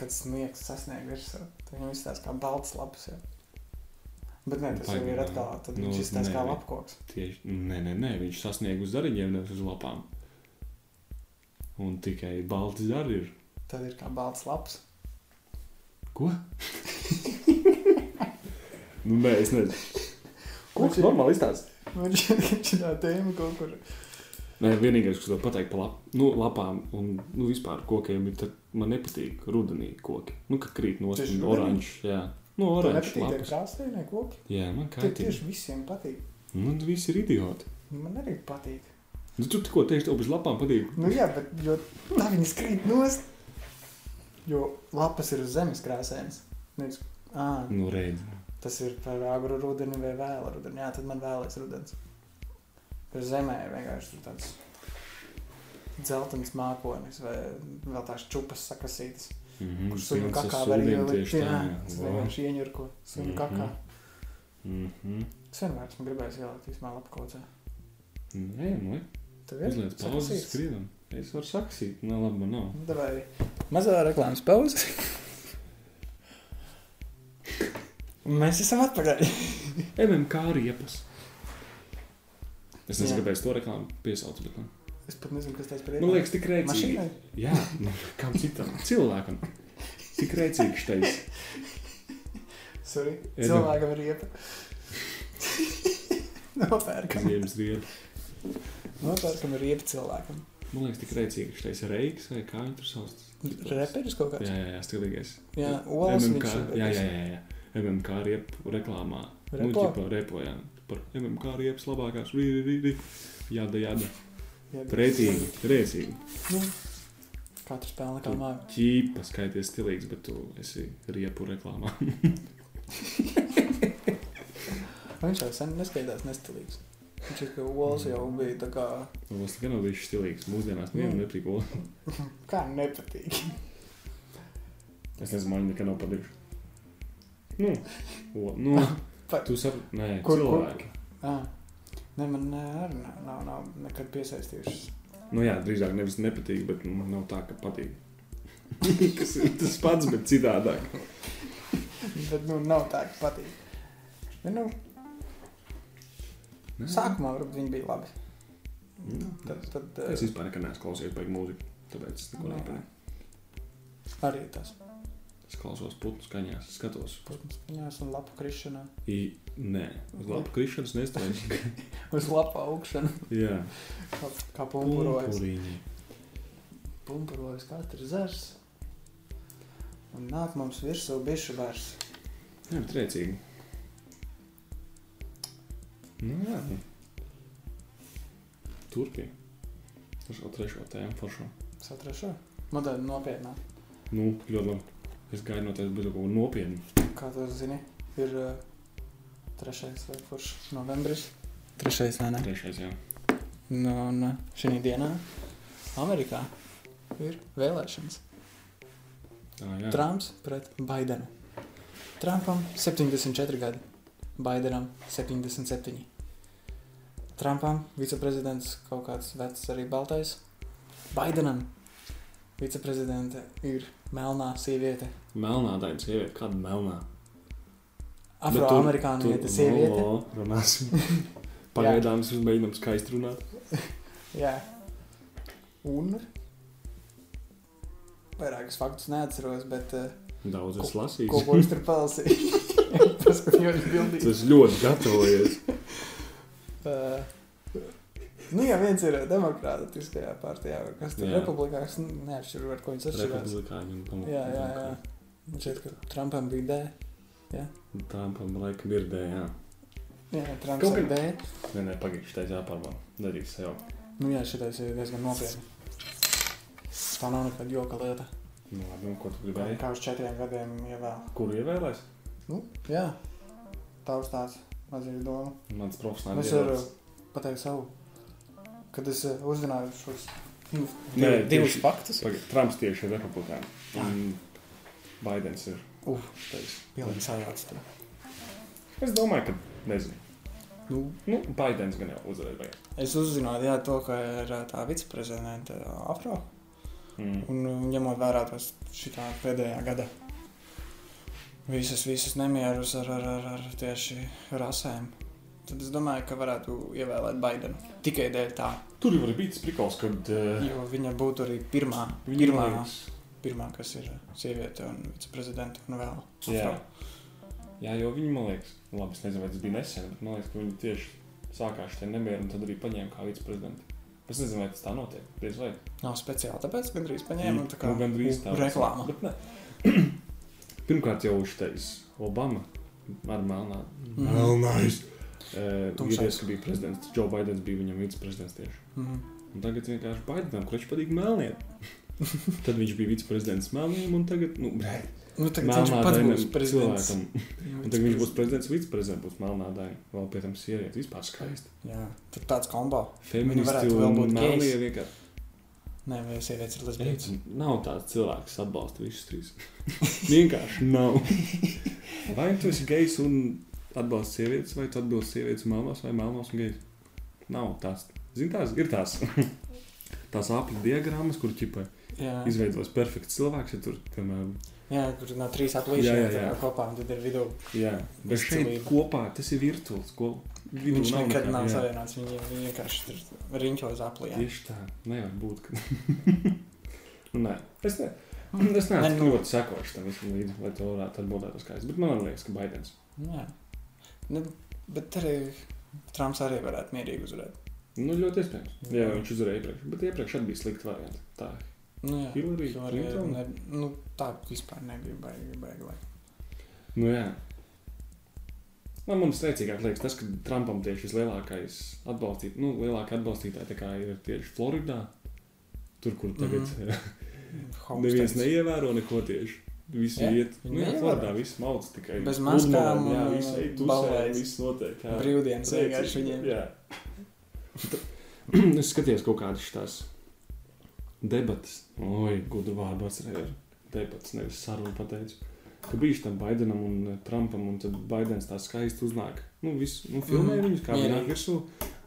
Speaker 3: kad sniegs sasniedz virsmu, tad viņš izstāsta kā balts lapas. Jau. Bet nē, tas jau ir
Speaker 2: Pagaidām.
Speaker 3: atkal tāds
Speaker 2: Nu,
Speaker 3: nu, - tas
Speaker 2: nē.
Speaker 3: kā lapkoks.
Speaker 2: tieši, nē, nē, nē, viņš sasniedz uz zariņiem, nevis uz lapām. Un tikai balti zari ir.
Speaker 3: Tad ir kā balts lapas.
Speaker 2: Ko? nu, nē, es nezinu. Koks
Speaker 3: Viņš ir-
Speaker 2: normāli izstāsta.
Speaker 3: Viņš viņš ir tā tēma kaut kur.
Speaker 2: Nē, vienīgais, kas man patīk par lap, nu, lapām un nu, vispār kokiem, ir tas, man nepatīk rudenī koki. Nu, kad krīt no
Speaker 3: Tieši
Speaker 2: stūra
Speaker 3: rudenī?
Speaker 2: oranžs. Jā, nu,
Speaker 3: Tur
Speaker 2: oranžs
Speaker 3: nepatīk tie
Speaker 2: lapas.
Speaker 3: krāsainie koki.
Speaker 2: Jā, man
Speaker 3: Tur
Speaker 2: kaitīgi.
Speaker 3: tieši visiem patīk.
Speaker 2: Nu, tad viss ir idioti.
Speaker 3: Man arī patīk.
Speaker 2: Nu, tu tikko teici, tev bez lapām patīk.
Speaker 3: Nu jā, bet jo tā viņi skrīt nost. Jo lapas ir uz zemes krāsainas. Nevis- ā,
Speaker 2: Nu, redz.
Speaker 3: Tas ir par agru rudeni vai vēlu rudeni. Jā, tad man vēlēs rudens. Tur zemē ir vienkārši tur tāds dzeltens mākonis vai vēl tās čupas sakasītas.
Speaker 2: Mhm,
Speaker 3: Kurš suņu
Speaker 2: tas
Speaker 3: kakā
Speaker 2: ar
Speaker 3: var
Speaker 2: sudiņu
Speaker 3: ielikt?
Speaker 2: tieši tā,
Speaker 3: Jā,
Speaker 2: jā.
Speaker 3: tas
Speaker 2: Vau.
Speaker 3: vienkārši ieņurko suņu
Speaker 2: Mhm.
Speaker 3: kakā.
Speaker 2: Mhm.
Speaker 3: Es vienmēr esmu gribējis ielikt īsumā lapkaucē.
Speaker 2: Nē, nu,
Speaker 3: Tev ir?
Speaker 2: uzliec pauzes,
Speaker 3: Sakasītas?
Speaker 2: skrienam. Es varu saksīt, nē, labi, man nav.
Speaker 3: Nu, davai. Mazā reklāmas pauze. Un Mēs esam atpakaļ.
Speaker 2: MMK riepas. Es nezinu,
Speaker 3: Jā.
Speaker 2: kāpēc to reklāmu piesaucu, bet nu.
Speaker 3: Es pat nezinu, kas tas par
Speaker 2: man Nu, liekas, tik rēcīgi.
Speaker 3: mašīnai.
Speaker 2: Jā, nu, kam citam? Cilvēkam. Cik rēcīgi šitais.
Speaker 3: Sorry.
Speaker 2: Ej, nu.
Speaker 3: Cilvēkam ir riepa. Nopērkam.
Speaker 2: Ziemas diena.
Speaker 3: Nopērkam ir riepa cilvēkam.
Speaker 2: Man liekas, tik rēcīgi šitais reiks vai kā viņi tur sauc.
Speaker 3: Reperis kaut kāds.
Speaker 2: Jā, jā, jā, stilīgais.
Speaker 3: Jā, olas
Speaker 2: MMK,
Speaker 3: viņš ir.
Speaker 2: jā, jā, jā, jā. MMK riep reklāmā. Nu,
Speaker 3: Repo?
Speaker 2: ģipa repojām par MMK riepas labākās. Rī, rī, rī, rī. Jāda, jāda.
Speaker 3: Jā, bet-
Speaker 2: Rēcīgi, rēcīgi.
Speaker 3: Nu, Katrs pelna kā
Speaker 2: Tu-
Speaker 3: māja.
Speaker 2: Ķīpa skaities stilīgs, bet tu esi riepu reklāmā.
Speaker 3: Viņš jau sen neskaidrs nestilīgs. Viņš ir kā olas jau
Speaker 2: Mm.
Speaker 3: bija tā kā...
Speaker 2: Mums gan nav bijis stilīgs. Mūsdienās nevienam
Speaker 3: Mm.
Speaker 2: nepatīk olas.
Speaker 3: Kā nepatīk.
Speaker 2: Es nezinu, man viņa nekad nav patīkuši. Nu, o, nu
Speaker 3: Pa-
Speaker 2: tu saproti, nē,
Speaker 3: Kur-
Speaker 2: kur, cilvēki.
Speaker 3: Ah. Ne, man ne, arī nav, nav, nav nekad piesaistījušas.
Speaker 2: Nu jā, drīzāk nevis nepatīk, bet nu, nav tā, ka patīk. Kas ir tas pats, bet citādāk.
Speaker 3: Bet, nu, nav tā, ka patīk. Bet, nu,
Speaker 2: Nē.
Speaker 3: sākumā varbūt viņi bija labi.
Speaker 2: Mm.
Speaker 3: Tad, tad
Speaker 2: Es
Speaker 3: eh,
Speaker 2: vispār nekad neesmu klausījies baigi mūziku, tāpēc es neko
Speaker 3: Nē.
Speaker 2: nepatinu.
Speaker 3: arī tas
Speaker 2: Es klausos putnu skaņās, es skatos.
Speaker 3: pusmaskaņās un lapu krišanā.
Speaker 2: I, nē, uz labu krišanas nestājas.
Speaker 3: Uz lapu augšanu.
Speaker 2: jā,
Speaker 3: Kā, kā pumpurojas.
Speaker 2: pumpurīņi.
Speaker 3: Pumpurojas katrs zars. Un nāk mums virsū bišu vairs.
Speaker 2: Jā, bet rēcīgi. Nu jā. Turpin. Ar šo trešo tēmu foršo.
Speaker 3: Satrašo? Man tāda nopietnā.
Speaker 2: Nu, ļoti labi. Es gaidu no tevis, bet kaut ko nopietnu.
Speaker 3: Kā tu zini, ir uh, trešais vai kurš novembris? Trešais, vai ne?
Speaker 2: Trešais, jā.
Speaker 3: Nu, un uh, šī dienā Amerikā ir vēlēšanas.
Speaker 2: Tā, jā.
Speaker 3: Trumps pret Baidenu. Trumpam 74 gadi, Baidenam 77. Trumpam viceprezidents kaut kāds vecs, arī baltais. Baidenam viceprezidente ir melnā sieviete.
Speaker 2: Melnā daļa sieviete. Kāda melnā? Bet tur-
Speaker 3: Afroamerikāniete sieviete.
Speaker 2: No, runāsim. Pagaidām es mēģinām skaisti runāt.
Speaker 3: Jā. Un vairākus faktus neatceros, bet uh,
Speaker 2: Daudz es
Speaker 3: ko
Speaker 2: lasīju.
Speaker 3: ko es tur palasīju? Paskatījos bildī.
Speaker 2: Tas ļoti gatavojies.
Speaker 3: Uh, nu jā, viens ir demokrātiskajā partijā, vai kas tur
Speaker 2: Jā.
Speaker 3: republikāns nu, neatšķiro, ar ko viņš atšķirās.
Speaker 2: Republikāņi un tam.
Speaker 3: Jā, jā, jā. Man šķiet, ka Trumpam bija D.
Speaker 2: Trumpam laikam ir D, jā.
Speaker 3: Jā, Trumps
Speaker 2: Kaut
Speaker 3: ir
Speaker 2: kā-
Speaker 3: D.
Speaker 2: Nē, nē, pagaidi, šitais jāpārvalda. Darīs sev.
Speaker 3: Nu jā, šitais ir diezgan nopietni. Tā nav nekad joka lieta.
Speaker 2: Nu, labi, un ko tu gribēji?
Speaker 3: Kā uz četriem gadiem ievēl.
Speaker 2: Kuru ievēlēs?
Speaker 3: Nu, jā. Tavs tāds mazīgi doma.
Speaker 2: Mans profesionāls
Speaker 3: Es varu pateikt savu. Kad es eh, uzzināju šos
Speaker 2: Nē,
Speaker 3: div- divus
Speaker 2: tieši-
Speaker 3: faktus,
Speaker 2: Pagaid, Trumps tieši ir republikāns. Un Baidens ir.
Speaker 3: Uf.
Speaker 2: teiks.
Speaker 3: pilnīgi sajaucu. to.
Speaker 2: Es domāju, ka nezinu.
Speaker 3: Nu,
Speaker 2: Nu, Baidens gan jau uzvarēja. vai?
Speaker 3: es uzzināju, jā, to, ka ir eh, tā viceprezidenta eh, afro.
Speaker 2: Mm.
Speaker 3: Un eh, ņemot vērā tos šitā pēdējā gada visas, visas nemierus ar, ar, ar, ar tieši rasēm, tad es domāju, ka varētu ievēlēt Baidenu. Tikai dēļ tā,
Speaker 2: Tur jau bija tas prikals, kad uh,
Speaker 3: jo viņa būtu arī pirmā, pirmā, pirmā kas ir eh, sieviete un viceprezidenta un vēl.
Speaker 2: Jā.
Speaker 3: afro.
Speaker 2: Jā, jo viņi man liekas, labi, es nezinu, vai tas bija nesen, bet man liekas, ka viņi tieši sākās šie nemieri un tad arī paņēma kā viceprezidentu. Es nezinu, vai tas tā notiek. Diez vai.
Speaker 3: Nav speciāli, tāpēc gandrīz paņēma un tā kā
Speaker 2: nu, gandrīz tā.
Speaker 3: reklāma.
Speaker 2: Bet nē. Pirmkārt, jau šitais Obama ar melnā.
Speaker 3: Mhm.
Speaker 2: Melnais. Mm. Uh,
Speaker 3: Tumšais.
Speaker 2: Ieties, ka bija prezidents. Džo Baidens bija viņam viceprezidents tieši.
Speaker 3: Mhm.
Speaker 2: Un tagad vienkārši Baidenam, kurš patīk melniem. Tad viņš bija viceprezidents māmām, un tagad, nu, brē,
Speaker 3: Nu, tagad
Speaker 2: māmā
Speaker 3: viņš pats
Speaker 2: Dainam
Speaker 3: būs prezidents.
Speaker 2: cilvēkam. Un tagad viņš būs prezidents, viceprezidents būs māmā daļa. Vēl pie tam sieviete, vispār skaisti.
Speaker 3: Jā, tad tāds kombo.
Speaker 2: Feministi
Speaker 3: Nu, varētu vēl
Speaker 2: un
Speaker 3: būt gejs.
Speaker 2: māmie vienkārši.
Speaker 3: Nē, vai jūs sievietes ir
Speaker 2: Beidz,
Speaker 3: lesbietes?
Speaker 2: nav tāds cilvēks, kas atbalsta visus trīs. vienkārši nav. Vai tu esi gejs un atbalsti sievietes, vai tu atbalsti sievietes un māmās, vai māmās un gejs? Nav tās. Zini, tās ir tās. tās apli diagrammas, kur ķipa
Speaker 3: Jā.
Speaker 2: izveidos perfekts cilvēks, ja tur, piemēram,
Speaker 3: jā, kur nav trīs
Speaker 2: Jā,
Speaker 3: aplīšana
Speaker 2: jā,
Speaker 3: tā
Speaker 2: jā.
Speaker 3: kā kopā, un tad ir vidū.
Speaker 2: Jā, bet šeit
Speaker 3: Virtuvība.
Speaker 2: kopā tas ir virtuāls. Ko... vidū
Speaker 3: Viņš
Speaker 2: nav
Speaker 3: nekad
Speaker 2: nekā,
Speaker 3: nav
Speaker 2: jā.
Speaker 3: savienots, viņi viņi vienkārši tur riņķojas aplī.
Speaker 2: Tieši tā, nevar būt. Ka... Nu, Nē, es ne. Es
Speaker 3: Nē,
Speaker 2: neesmu
Speaker 3: nu.
Speaker 2: ļoti sekojuši tam visam līdzi, lai to varētu atbildēt uz kājas. Bet man liekas, ka Baidens.
Speaker 3: Jā. Nu, bet arī Trumps arī varētu mierīgi uzvarēt.
Speaker 2: Nu, ļoti iespējams.
Speaker 3: Jā.
Speaker 2: Jā, viņš uzvarēja iepriekš. Bet iepriekš arī bija slikti varianti. Tā.
Speaker 3: Nu, jā.
Speaker 2: Hillary
Speaker 3: Hillary,
Speaker 2: Clinton?
Speaker 3: ne, nu, tā vispār nebija baigi, baigi laika.
Speaker 2: Nu, jā. Man, man steidzīgāk liekas tas, ka Trumpam tieši vislielākais atbalstīt, nu, lielākā atbalstītāja tā kā ir tieši Floridā. Tur, kur tagad
Speaker 3: Mhm.
Speaker 2: mm. Neviens
Speaker 3: Homesteads.
Speaker 2: neievēro neko tieši. Visi
Speaker 3: Jā,
Speaker 2: jā, iet,
Speaker 3: viņi
Speaker 2: nu, jā,
Speaker 3: neievēro.
Speaker 2: Floridā viss maudz tikai.
Speaker 3: Bez maskām
Speaker 2: pludmale, jā,
Speaker 3: un,
Speaker 2: visi ej,
Speaker 3: un
Speaker 2: tusē,
Speaker 3: ballēs.
Speaker 2: viss notiek. jā.
Speaker 3: Brīvdienas
Speaker 2: Priecīgi,
Speaker 3: vienkārši viņiem.
Speaker 2: Jā. es skatījos kaut kādas tās debatas. Oi, gudru vārdu atcerējos. Debatas, nevis sarunu pateicu. Ka bija tam Baidenam un eh, Trumpam, un tad Baidens tā skaisti uznāk. Nu, viss, nu, filmē
Speaker 3: Mm,
Speaker 2: mm. viņus, kā viņi
Speaker 3: mierīgi.
Speaker 2: nāk virsū.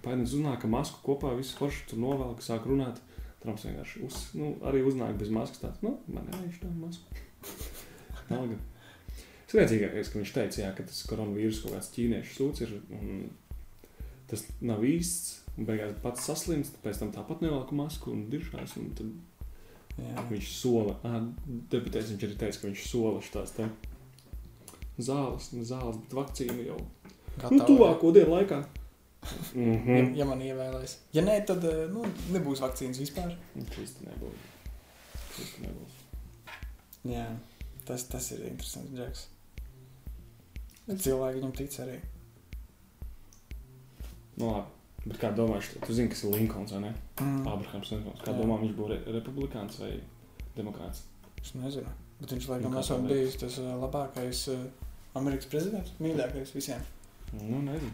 Speaker 2: Baidens uznāk ar masku kopā, viss forši tur novelk, sāk runāt. Trumps vienkārši uz, nu, arī uznāk bez maskas. Tāds, nu, man nevajag šo masku. Nalga. Svētīgākais, ka viņš teica, jā, ka tas koronavīrus kaut kāds ķīniešu sūds ir un tas nav īsts. Un beigās pats saslimst, pēc tam tāpat nelielāku masku un diržās. Un tad
Speaker 3: Jā.
Speaker 2: Viņš sola, ā, deputēts viņš arī teica, ka viņš sola šīs zāles, ne zāles, bet vakcīnu jau nu,
Speaker 3: Gatavi.
Speaker 2: tuvāko dienu laikā.
Speaker 3: Ja,
Speaker 2: Mhm.
Speaker 3: ja man ievēlēs. Ja nē, tad eh, nu, nebūs vakcīnas vispār.
Speaker 2: Tas tas Nu, nebūs. Tas tas nebūs.
Speaker 3: Jā, tas, tas ir interesants džeks. Cilvēki viņam tic arī.
Speaker 2: Nu, labi. Bet kā domā, tu zini, kas ir Linkolns vai ne?
Speaker 3: Mm.
Speaker 2: Abrahams Linkolns. Kā
Speaker 3: Jā.
Speaker 2: domā, viņš būs re republikāns vai demokrāts?
Speaker 3: Es nezinu. Bet viņš
Speaker 2: Nu,
Speaker 3: laikam
Speaker 2: kā
Speaker 3: esot
Speaker 2: tā
Speaker 3: bijis tas eh, labākais eh, Amerikas prezidents. Mīļākais visiem.
Speaker 2: Nu, nezinu.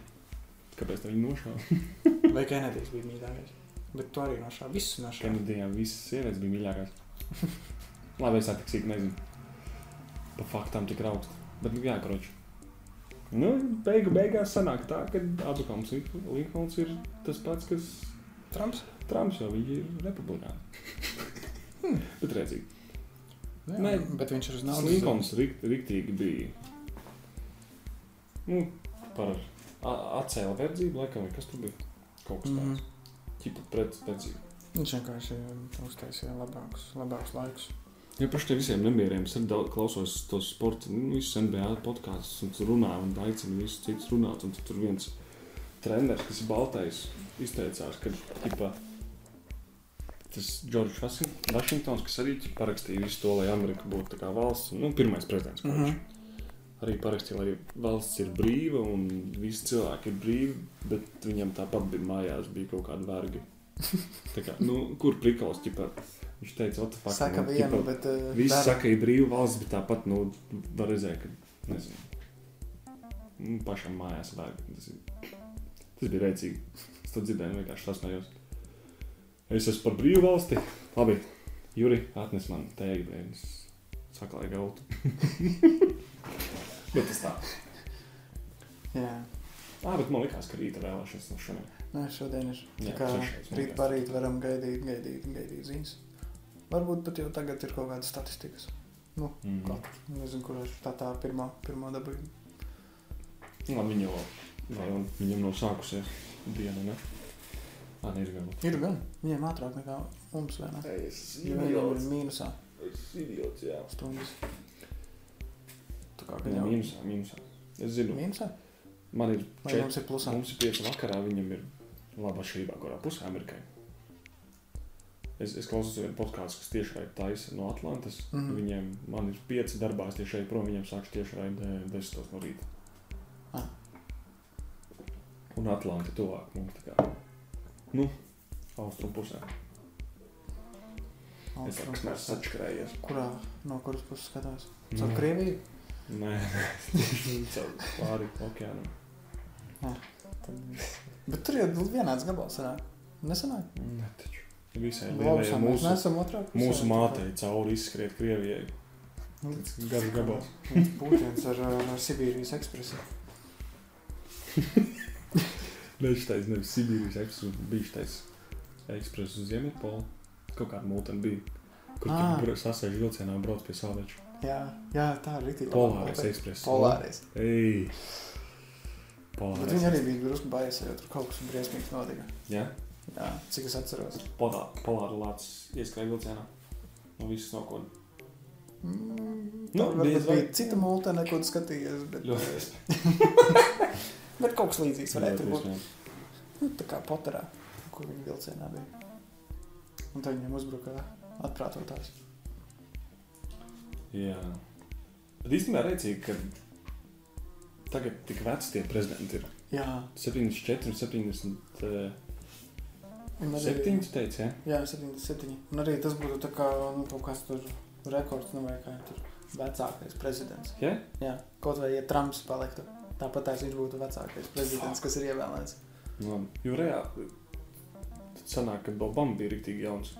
Speaker 2: Kāpēc tā viņi nošāva?
Speaker 3: Vai Kenedijs bija mīļākais? Bet tu arī no šā. Visus no šā.
Speaker 2: Kenedijā visas sievietes bija mīļākās. labi, es attiecīgi nezinu. Pa faktām tik raukst. Bet, nu, jā, kroči. Nu, beigu beigās sanāk tā, ka Abrahams Linkolns ir tas pats, kas
Speaker 3: Trumps?
Speaker 2: Trumps jau viņi ir republikāni. Bet redzīgi.
Speaker 3: Jā,
Speaker 2: Nē.
Speaker 3: bet viņš ir uz
Speaker 2: Nav
Speaker 3: naudas.
Speaker 2: Linkolns rik- riktīgi bija. Nu, par a- atcēla verdzību, laikam, vai kas tur bija? Kaut kas
Speaker 3: Mhm.
Speaker 2: tāds. Ķipa pret verdzību.
Speaker 3: Viņš vienkārši eh, uztaisīja labākus, labākus laikus.
Speaker 2: Ja par šiem visiem nemieriem es arī daudz klausos tos sporta, nu, visus NBA podkāstus, un tur runā, un aicinu visus citus runāt, un tad tur viens treneris, kas ir baltais, izteicās, ka, tipā, tas Džordžs Vasin- Vašingtons, kas arī ķipa, parakstīja visu to, lai Amerika būtu tā kā valsts, nu, pirmais prezidents, kurš.
Speaker 3: Mhm.
Speaker 2: Arī parakstīja, lai valsts ir brīva un visi cilvēki ir brīvi, bet viņam tāpat bija mājās, bija kaut kāda verga. Tā kā, nu, kur prikals, ķipa, viņš teica, what the fuck.
Speaker 3: Saka
Speaker 2: man,
Speaker 3: vienu,
Speaker 2: ķipa,
Speaker 3: bet... eh,
Speaker 2: Visi
Speaker 3: dara.
Speaker 2: saka, ir brīva valsts, bet tāpat nu, var redzēt, ka nezinu, nu, pašam mājās vajag. Tas, ir, tas bija rēcīgi. Es to dzirdēju, un vienkārši sasmējos. Es esmu par brīvu valsti. Labi, Juri, atnes man tēju brēnis. Saka, lai gautu. bet tas tā.
Speaker 3: Jā.
Speaker 2: Ā, bet man likās, ka rīta vēlēšanas no šodien.
Speaker 3: Nē, šodien ir.
Speaker 2: Jā,
Speaker 3: Tā kā
Speaker 2: trešais,
Speaker 3: rīt
Speaker 2: jā.
Speaker 3: parīt varam gaidīt, gaidīt, gaidīt ziņas. Varbūt pat jau tagad ir kaut kāda statistikas.
Speaker 2: Mm.
Speaker 3: Kaut- Nezinu, kurā tā tā pirmā, pirmā dabūja.
Speaker 2: Nu, Labi, viņa jau, vai un viņam nav sākusies diena, ne? Ā, nē, ir vēl.
Speaker 3: Ir gan. Viņiem ātrāk nekā mums vienā.
Speaker 2: Es
Speaker 3: Viņiem ir mīnusā
Speaker 2: Es idiots, jā.
Speaker 3: stundas. Tā kā
Speaker 2: Viņam
Speaker 3: gan jau.
Speaker 2: mīnusā, mīnusā. Es zinu,
Speaker 3: Mīnusā?
Speaker 2: man ir
Speaker 3: Vai
Speaker 2: četri. Mm.
Speaker 3: mums ir plusā?
Speaker 2: Mums ir pieci vakarā, viņam ir laba šī vakarā pusē Amerikai. Es, es klausos vienu podkāstu, kas tieši raidīja taisa no Atlantas. Mm.
Speaker 3: Mhm.
Speaker 2: Viņiem man ir pieci darbā, es tieši eju prom, viņiem sāks tieši raidīt desmitos no rīta.
Speaker 3: Ah.
Speaker 2: Un Atlanta tuvāk mums tā kā. Nu, austrum pusē. Es
Speaker 3: Alfa.
Speaker 2: esmu sačkrējies.
Speaker 3: Kurā no kuras puses skatās? Caur
Speaker 2: Nē,
Speaker 3: Krieviju?
Speaker 2: nē, caur pāri okeānam.
Speaker 3: Bet tur jau vienāds gabals sanāk. Nesanāk?
Speaker 2: Nē, taču. Visai
Speaker 3: Labi,
Speaker 2: lielajai
Speaker 3: mēs
Speaker 2: mūsu,
Speaker 3: neesam otrā pusē.
Speaker 2: mūsu mātei cauri izskriet Krievijai.
Speaker 3: Nu,
Speaker 2: Tas Garu gabals.
Speaker 3: Pūtiens ar, uh, ar Sibīrijas ekspresu.
Speaker 2: Viņš teica, nevis Sibīrijas ekspresa, bija tas ekspresa uz Ziemeļpolu. Kaut kāda mūtene bija. Kur
Speaker 3: Ah.
Speaker 2: tur sasēž vilcienā un brauc pie sāleča.
Speaker 3: Jā, jā, tā ir rītība.
Speaker 2: Polāris ekspresa.
Speaker 3: Polāris.
Speaker 2: Ej!
Speaker 3: Bet viņi
Speaker 2: Polāris.
Speaker 3: arī bija drusku baisi, jo tur kaut kas briesmīgs notika.
Speaker 2: Jā,
Speaker 3: Jā, cik es atceros.
Speaker 2: polāra lācis ieskrēja vilcienā. Un viss nokoda.
Speaker 3: Mm,
Speaker 2: Nu,
Speaker 3: nu,
Speaker 2: diez
Speaker 3: varbūt
Speaker 2: vai.
Speaker 3: bija cita mūtene, ko tu skatījies, bet,
Speaker 2: Ļoti iespējams.
Speaker 3: bet kaut kas līdzīgs varētu
Speaker 2: Ļoti
Speaker 3: būt.
Speaker 2: iespējams.
Speaker 3: Nu, tā kā Potterā, kur viņa vilcienā bija. Un tad viņam uzbruka atprātotājs.
Speaker 2: Jā. Bet īstenībā rēcīgi, ka tagad tik veci tie prezidenti ir.
Speaker 3: Jā,
Speaker 2: 74, 77,
Speaker 3: un arī-
Speaker 2: teica, jā?
Speaker 3: Jā, 77. Un arī tas būtu tā kā nu, kaut kāds tur rekords, nu vai kā tur vecākais prezidents.
Speaker 2: Jā?
Speaker 3: Jā, kaut vai ja Trumps paliktu. Tāpat tās viņš būtu vecākais prezidents, kas ir ievēlēts.
Speaker 2: Nu, jo reāli tad sanāk, ka Obama bija rīktīgi jauns,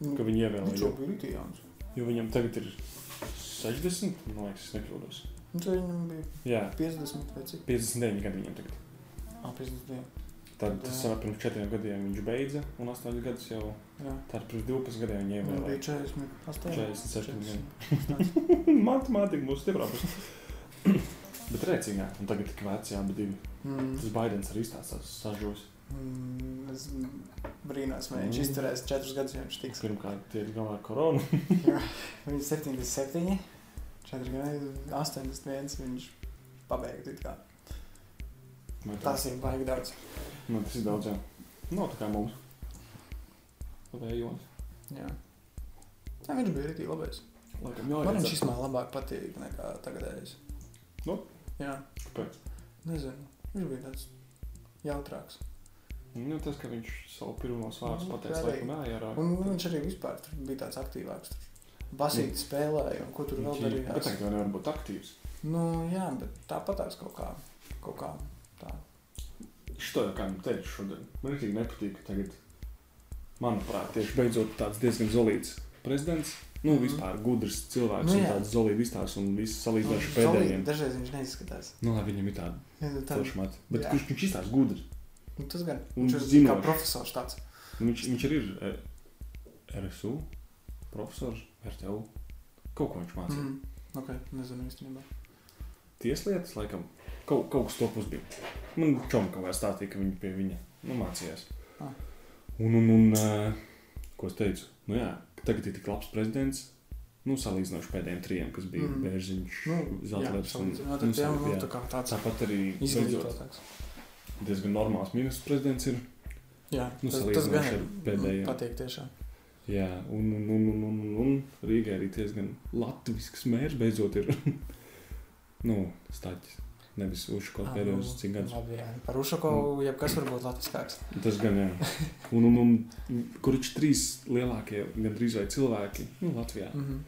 Speaker 3: Nu,
Speaker 2: ka viņi
Speaker 3: Viņš
Speaker 2: ievēlēja.
Speaker 3: jau
Speaker 2: Jo,
Speaker 3: bija ļoti jauns.
Speaker 2: jo viņam tagad ir 60, man liekas, es nekļūdos.
Speaker 3: Nu, tad viņam bija
Speaker 2: Jā,
Speaker 3: 50 vai cik?
Speaker 2: 59 gadi viņam tagad.
Speaker 3: Ah, 52.
Speaker 2: Tad tas sanāk, pirms 4 gadiem viņš beidza, un 8 gadus jau,
Speaker 3: Jā.
Speaker 2: tad pirms 12 gadiem viņa
Speaker 3: Viņam bija
Speaker 2: ievēlēja.
Speaker 3: 48.
Speaker 2: 46 gadi.
Speaker 3: 48.
Speaker 2: Matemātika mūsu stiprā pusē. bet rēcīgā, un tagad tik vecajā, bet divi.
Speaker 3: Mm,
Speaker 2: Tas Baidens arī stāsta sažos.
Speaker 3: mm, es brīnos, vai viņš
Speaker 2: Mm.
Speaker 3: izturēs 4 gadus, ja viņš tiks.
Speaker 2: Pirmkārt, tie ir galā ar koronu.
Speaker 3: Viņš ir 77, 4 gadi, 81. Viņš pabeigts.
Speaker 2: Vai tā?
Speaker 3: Tas ir baigi daudz.
Speaker 2: Nu, tas ir daudz, jā. Nav tā kā mums. Vējons.
Speaker 3: Jā. Jā, viņš bija arī labais.
Speaker 2: Laikam, jā,
Speaker 3: Man
Speaker 2: jā,
Speaker 3: viņš īstenībā labāk patīk nekā tagadējais.
Speaker 2: Nu?
Speaker 3: Jā.
Speaker 2: Kāpēc?
Speaker 3: Nezinu. Viņš bija tāds jautrāks.
Speaker 2: Nu, tas, ka viņš savu pirmos vārdus
Speaker 3: Nu,
Speaker 2: pateica
Speaker 3: arī.
Speaker 2: laikam ārā.
Speaker 3: Un viņš arī vispār tur bija tāds aktīvāks. Tur. Basīt spēlēja, un ko tur vēl
Speaker 2: Mm. Bet
Speaker 3: darīja.
Speaker 2: tagad jau nevar būt aktīvs.
Speaker 3: Nu, jā, bet tāpatās kaut kā. Kaut kā. Tā.
Speaker 2: Šito jau kādam teicu šodien. Man ļoti nepatīk, ka tagad, manuprāt, tieši beidzot tāds diezgan zolīts prezidents. Nu,
Speaker 3: Mhm.
Speaker 2: vispār gudrs cilvēks
Speaker 3: Nu,
Speaker 2: un
Speaker 3: jā.
Speaker 2: tāds zolīts izstāsts un viss salīdzināšu
Speaker 3: Nu,
Speaker 2: pēdējiem.
Speaker 3: Zolīti Dažreiz viņš neizskatās.
Speaker 2: Nu, lai viņam ir tāda
Speaker 3: Jā, nu, tā-
Speaker 2: plaša matra. Bet
Speaker 3: Jā.
Speaker 2: kurš viņš izstāsta gudrs?
Speaker 3: nu, Tas gan.
Speaker 2: Un
Speaker 3: Viņš ir kā
Speaker 2: zinošs.
Speaker 3: profesors tāds.
Speaker 2: Viņš, viņš arī ir eh, RSU, profesors, RTU. Kaut ko viņš mācīja. Mm.
Speaker 3: Mm. Ok, nezinu īstenībā.
Speaker 2: Tieslietas, laikam, kaut, kaut kas topus bija. Man čomka vēl stāstīja, ka viņi pie viņa nu, mācījās.
Speaker 3: Ah.
Speaker 2: Un, un, un eh, ko es teicu? Nu jā, ka tagad ir tik labs prezidents. Nu, salīdzinoši pēdējiem trijiem, kas bija mm.
Speaker 3: Mhm.
Speaker 2: Bērziņš,
Speaker 3: Nu, jā,
Speaker 2: Zeltlers un
Speaker 3: salīdzinot ar tiem, nu,
Speaker 2: jā.
Speaker 3: tā kā tāds
Speaker 2: Tāpat arī beidzot,
Speaker 3: izglītotāks.
Speaker 2: diezgan normāls ministrs prezidents ir.
Speaker 3: Jā,
Speaker 2: Nu,
Speaker 3: tas, tas
Speaker 2: salīdzinoši
Speaker 3: gan
Speaker 2: ar
Speaker 3: ir mm,
Speaker 2: pēdējiem.
Speaker 3: patīk tiešām.
Speaker 2: Jā, un, un, un, un, un, un, un Rīgā arī diezgan latviešu mērķis beidzot ir. nu, stāķis. Nevis uzskot
Speaker 3: Ah,
Speaker 2: pēdējos
Speaker 3: nu,
Speaker 2: cik gadus.
Speaker 3: Labi, jā. Par
Speaker 2: Mm.
Speaker 3: Ušakovu jebkas var būt latviskāks.
Speaker 2: Tas gan jā. Un, un, un kurš trīs lielākie gandrīz vai cilvēki nu, Latvijā?
Speaker 3: Mhm.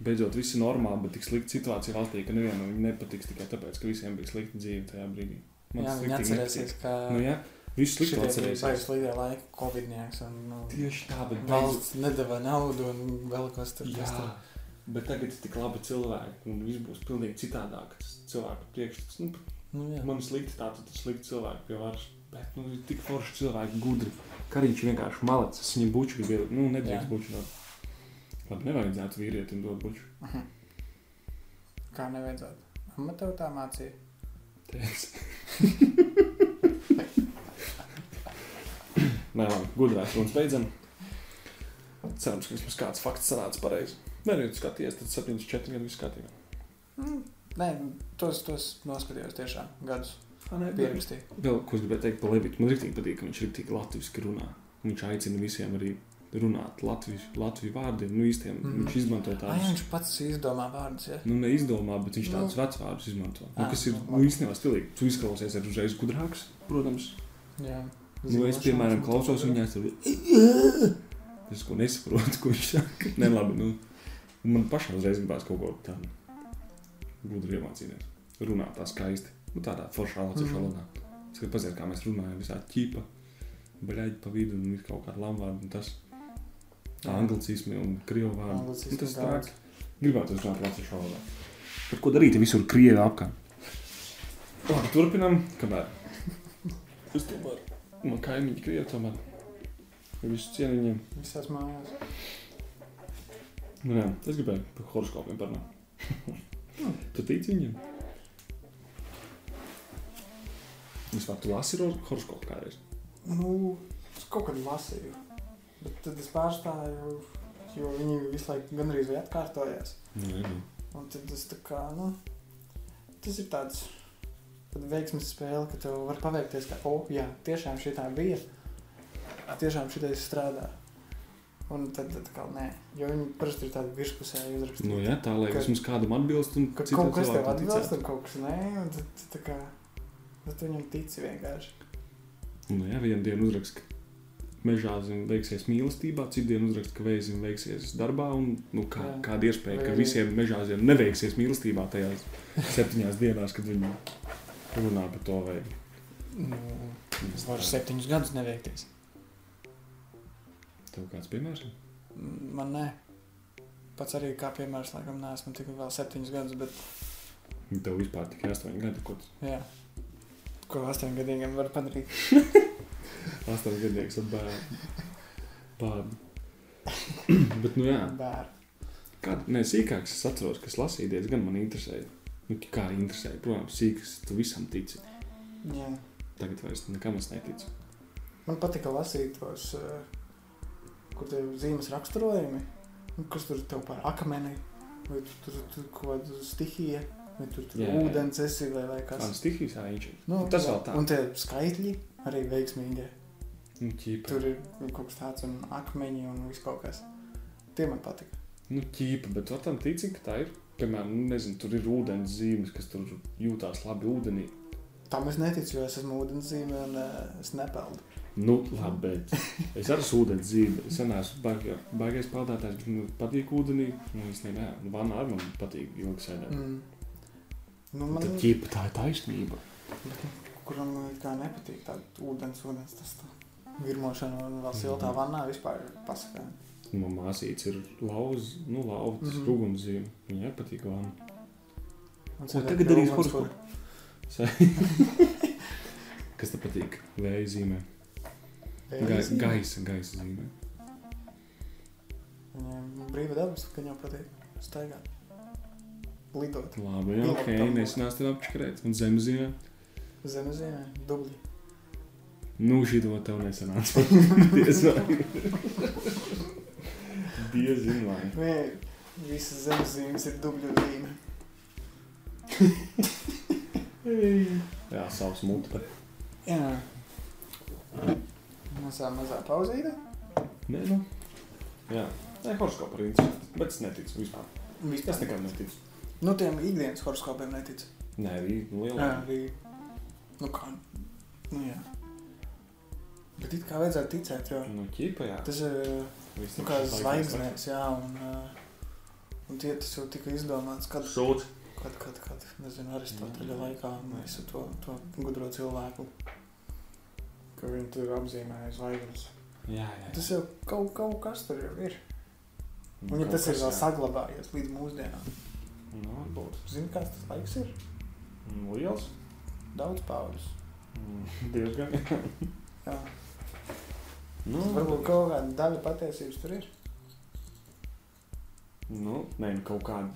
Speaker 2: Beidzot, viss ir normāli, bet tik slikta situācija valstī, ka nevienam viņa nepatiks tikai tāpēc, ka visiem bija slikta dzīve tajā brīdī.
Speaker 3: Jā,
Speaker 2: tas
Speaker 3: viņi
Speaker 2: sliktīgi
Speaker 3: atcerēsies,
Speaker 2: nepatīk.
Speaker 3: ka
Speaker 2: Nu, jā, viss
Speaker 3: šitie
Speaker 2: slikti
Speaker 3: bija
Speaker 2: atcerēsies.
Speaker 3: baigi slīdē laika covidnieks un nu,
Speaker 2: Tieši tā, bet beidzot,
Speaker 3: valsts nedeva naudu un vēl kas tur.
Speaker 2: Jā,
Speaker 3: kas tur.
Speaker 2: bet tagad ir tik labi cilvēki, un viss būs pilnīgi citādāk. Tas cilvēku priekšstats, nu,
Speaker 3: Nu, jā.
Speaker 2: man ir slikti tā, tad ir slikti cilvēki pie varas. Bet, nu, ir tik forši cilvēki, gudri. Kariņš vienkārši malecis, viņam buču gribēja, nu,
Speaker 3: Jā.
Speaker 2: nedrīkst buču dot. Labi, nevajadzētu vīrietim dot buču.
Speaker 3: Mhm. Kā nevajadzētu. Mamma tev tā mācīja.
Speaker 2: Tēvs. Nē, labi, gudrās runas beidzam. Cerams, ka vismaz kāds fakts sanāca pareizi. Nē, ja tu skaties, tad 74 gadu viss kārtībā.
Speaker 3: Nē, tos, tos noskatījos tiešām gadus pierakstīju.
Speaker 2: Vēl ko es gribēju teikt par Levitu. Man ļoti patīk, ka viņš ir tik latviešu runā. Viņš aicina visiem arī runāt latviešu, latviešu vārdiem, nu īstiem. Mm
Speaker 3: Mhm.
Speaker 2: -hmm. Viņš izmanto
Speaker 3: Ai,
Speaker 2: tādus.
Speaker 3: viņš pats izdomā vārdus, ja?
Speaker 2: Nu, neizdomā, bet viņš tādus
Speaker 3: Nu.
Speaker 2: vecus vārdus izmanto. Nu,
Speaker 3: Ah,
Speaker 2: kas ir
Speaker 3: nu,
Speaker 2: nu,
Speaker 3: labi.
Speaker 2: īstenībā stilīgi. Tu izklausies ar uzreiz gudrāks, protams.
Speaker 3: Jā.
Speaker 2: Nu, es,
Speaker 3: Zinošanas
Speaker 2: piemēram,
Speaker 3: un tā
Speaker 2: klausos
Speaker 3: tāda.
Speaker 2: viņā, tur Es ko nesaprotu, ko viņš saka. Nē, labi. Nu, man pašam uzreiz gribās kaut ko tādu gudru iemācīties. Runāt tā skaisti. Nu, tādā foršā, latviešu
Speaker 3: Mhm.
Speaker 2: valodā. Mm. Es gribu pateikt, kā mēs runājam, visā ķīpa, baļķi pa vidu un ir kaut kāda lamvārda un tas anglicismi un krievu vārdi.
Speaker 3: Anglicismi
Speaker 2: Nu, Tas tā
Speaker 3: daudz.
Speaker 2: kā gribētu runāt latviešu valodā. Par ko darīt, ja visur krievi apkārt? Labi, turpinam, kamēr. Es tomēr, man kaimiņi krievi tomēr. Ja visu cienu viņiem.
Speaker 3: Visās mājās.
Speaker 2: Nu, jā, es gribēju par horoskopiem parunāt. tu tici viņiem? Vispār tu lasi hor- horoskopu kādreiz.
Speaker 3: Nu, es kaut kad lasīju, bet tad es pārstāju, jo viņi visu laiku gandrīz vai atkārtojās.
Speaker 2: Nē, nē.
Speaker 3: Un tad tas tā kā, nu, tas ir tāds tāda veiksmes spēle, ka tev var paveikties tā, o, oh, jā, tiešām šī tā bija, tiešām šitais strādā. Un tad atkal nē, jo viņi parasti ir tādi virspusēji uzrakstīti.
Speaker 2: Nu, jā, tā lai
Speaker 3: Ka-
Speaker 2: vismaz kādam atbilst un
Speaker 3: Ka
Speaker 2: citam
Speaker 3: kaut kas tev
Speaker 2: cilvēkam
Speaker 3: atbilst,
Speaker 2: ticētu.
Speaker 3: un kaut kas nē, un tad tu tā kā, tad tu viņam tici vienkārši.
Speaker 2: Nu, jā, vienu dienu uzrakst, ka mežā zem veiksies mīlestībā, citu dienu uzrakst, ka vēzim veiksies darbā un nu, kā,
Speaker 3: Jā.
Speaker 2: kāda iespēja,
Speaker 3: Vai
Speaker 2: ka
Speaker 3: arī-
Speaker 2: visiem mežā zem neveiksies mīlestībā tajās septiņās dienās, kad viņi runā par to vai...
Speaker 3: Nu, es varu septiņus gadus neveikties.
Speaker 2: Tev kāds piemērs?
Speaker 3: Man nē, pats arī kā piemērs, laikam, neesmu tikai vēl septiņus gadus, bet
Speaker 2: Tev vispār tikai astoņi gadi, ko tu
Speaker 3: jā, ko astoņgadīgiem var padarīt.
Speaker 2: Astoņu gadnieks ar bērnu. Bērnu. Bet, nu jā,
Speaker 3: Bērni.
Speaker 2: kāda ne sīkāks es atceros, kas lasīja diezgan man interesēja. Nu, kā interesēja, protams, sīkāks tu visam tici.
Speaker 3: Jā.
Speaker 2: Tagad vairs nekam es neticu.
Speaker 3: Man patika lasīt tos, eh, kur tev zīmes raksturojumi, nu, kas tur tev par akmeni, vai tur tur tur kaut kāda stihija, vai tur tur
Speaker 2: Jā, jā.
Speaker 3: ūdens esi, vai, vai
Speaker 2: Kāda
Speaker 3: kas. Nu,
Speaker 2: stihijas āņķa? Tas vēl tā.
Speaker 3: Un tie skaitļi arī veiksmīgi.
Speaker 2: Nu, ķīpa.
Speaker 3: Tur ir kaut kas tāds un akmeņi un viss kaut kas. Tie man patika.
Speaker 2: Nu, ķīpa, bet tu tam tici, ka tā ir. Piemēram, nu, nezinu, tur ir ūdens zīmes, kas tur jūtās labi ūdenī.
Speaker 3: Tam es neticu, jo es esmu ūdenszīme un eh, es nepeldu.
Speaker 2: Nu, labi, bet es arī esmu ūdens zīme. Es neesmu baigi- baigais peldētājs, bet man patīk ūdenī. Nu, es nezinu, jā, vannā arī man patīk ilgi sēdēt.
Speaker 3: Mm. Nu,
Speaker 2: Man...
Speaker 3: man
Speaker 2: Tad ķīpa tā ir taisnība.
Speaker 3: bet kuram it kā nepatīk tāda ūdens, ūdens, tas tā virmošana un vēl siltā
Speaker 2: Mhm.
Speaker 3: vannā vispār ir pasakāmi.
Speaker 2: Nu, Man māsīca ir lauva, nu, lauva tas
Speaker 3: Mhm.
Speaker 2: rūgumzīme. Viņai patīk vana.
Speaker 3: Un
Speaker 2: Ko
Speaker 3: cilvēki
Speaker 2: tagad darīs
Speaker 3: domās,
Speaker 2: horoskopu?
Speaker 3: kur-
Speaker 2: Kas te patīk? Vēja zīmē. Ga
Speaker 3: Vējas zīme.
Speaker 2: gaisa, gaisa zīmē.
Speaker 3: Viņiem brīva dabas, ka viņam patīk staigāt. Lidot.
Speaker 2: Nu, Labi, jā,
Speaker 3: Jā,
Speaker 2: ok,
Speaker 3: tam-
Speaker 2: nesinās tev apčakarēt. Un zemzīmē.
Speaker 3: Zemzīmē, dubļi.
Speaker 2: Nu, šī to tev nesanāca. Diez vai. Diez vai.
Speaker 3: Nē, visas zemzīmes ir dubļu zīme.
Speaker 2: Jā, savs mutu.
Speaker 3: Jā. Mazā, mazā pauzīte.
Speaker 2: Nē, nu. Jā. Nē, horoskopa ir interesanti. Bet es neticu vispār. Es
Speaker 3: Vispār.
Speaker 2: nekad neticu.
Speaker 3: Nu, tiem ikdienas horoskopiem neticu.
Speaker 2: Nē, bija lielā.
Speaker 3: Jā, arī. Nu, kā. Nu, jā. Bet it kā vajadzētu ticēt, jo
Speaker 2: Nu, ķīpa, jā.
Speaker 3: tas ir
Speaker 2: Viss
Speaker 3: nu,
Speaker 2: ir
Speaker 3: kā
Speaker 2: baigais laiks.
Speaker 3: zvaigznēs, jā, un, uh, un tie tas jau tika izdomāts, kad,
Speaker 2: Sūds.
Speaker 3: kad, kad, kad nezinu, Aristoteļa
Speaker 2: Jā.
Speaker 3: laikā un visu to, to gudro cilvēku, ka viņi tur apzīmēja zvaigznes.
Speaker 2: Jā, jā.
Speaker 3: Tas jau kaut, kaut kas tur jau ir. Un ja tas ir vēl saglabājies līdz mūsdienām,
Speaker 2: Nu, varbūt.
Speaker 3: zini, kāds tas laiks ir?
Speaker 2: Nu, Liels.
Speaker 3: Daudz paudzes.
Speaker 2: Mm, Diezgan.
Speaker 3: Jā.
Speaker 2: Nu,
Speaker 3: Varbūt kaut kāda daļa patiesības tur ir.
Speaker 2: Nu, nē, nu, kaut kāda,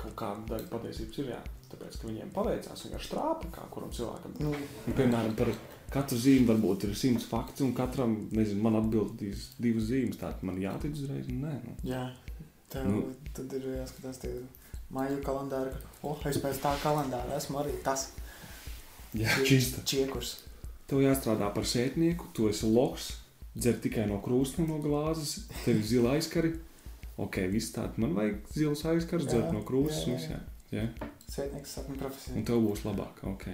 Speaker 2: kaut kāda daļa patiesības ir, jā. Tāpēc, ka viņiem paveicās vienkārši trāpa kā kuram cilvēkam.
Speaker 3: Nu,
Speaker 2: Un, piemēram, par katru zīmi varbūt ir simts fakts, un katram, nezinu, man atbildīs divas zīmes, tā man jātic uzreiz, un nē, nu.
Speaker 3: Jā, tev nu.
Speaker 2: Nu.
Speaker 3: tad ir jāskatās tie māju kalendāri, ka, oh, es pēc tā kalendāra esmu arī tas
Speaker 2: Jā, čista.
Speaker 3: čiekurs.
Speaker 2: Tev jāstrādā par sētnieku, tu esi loks, dzer tikai no krūsma no glāzes, tev ir zila aizkari. Ok, viss tāds man vajag zils aizkars,
Speaker 3: Jā,
Speaker 2: dzert no krūsmas,
Speaker 3: jā, jā.
Speaker 2: un viss jā. jā.
Speaker 3: Sētnieks sapņu
Speaker 2: Un
Speaker 3: profesija.
Speaker 2: tev būs labāk, ok.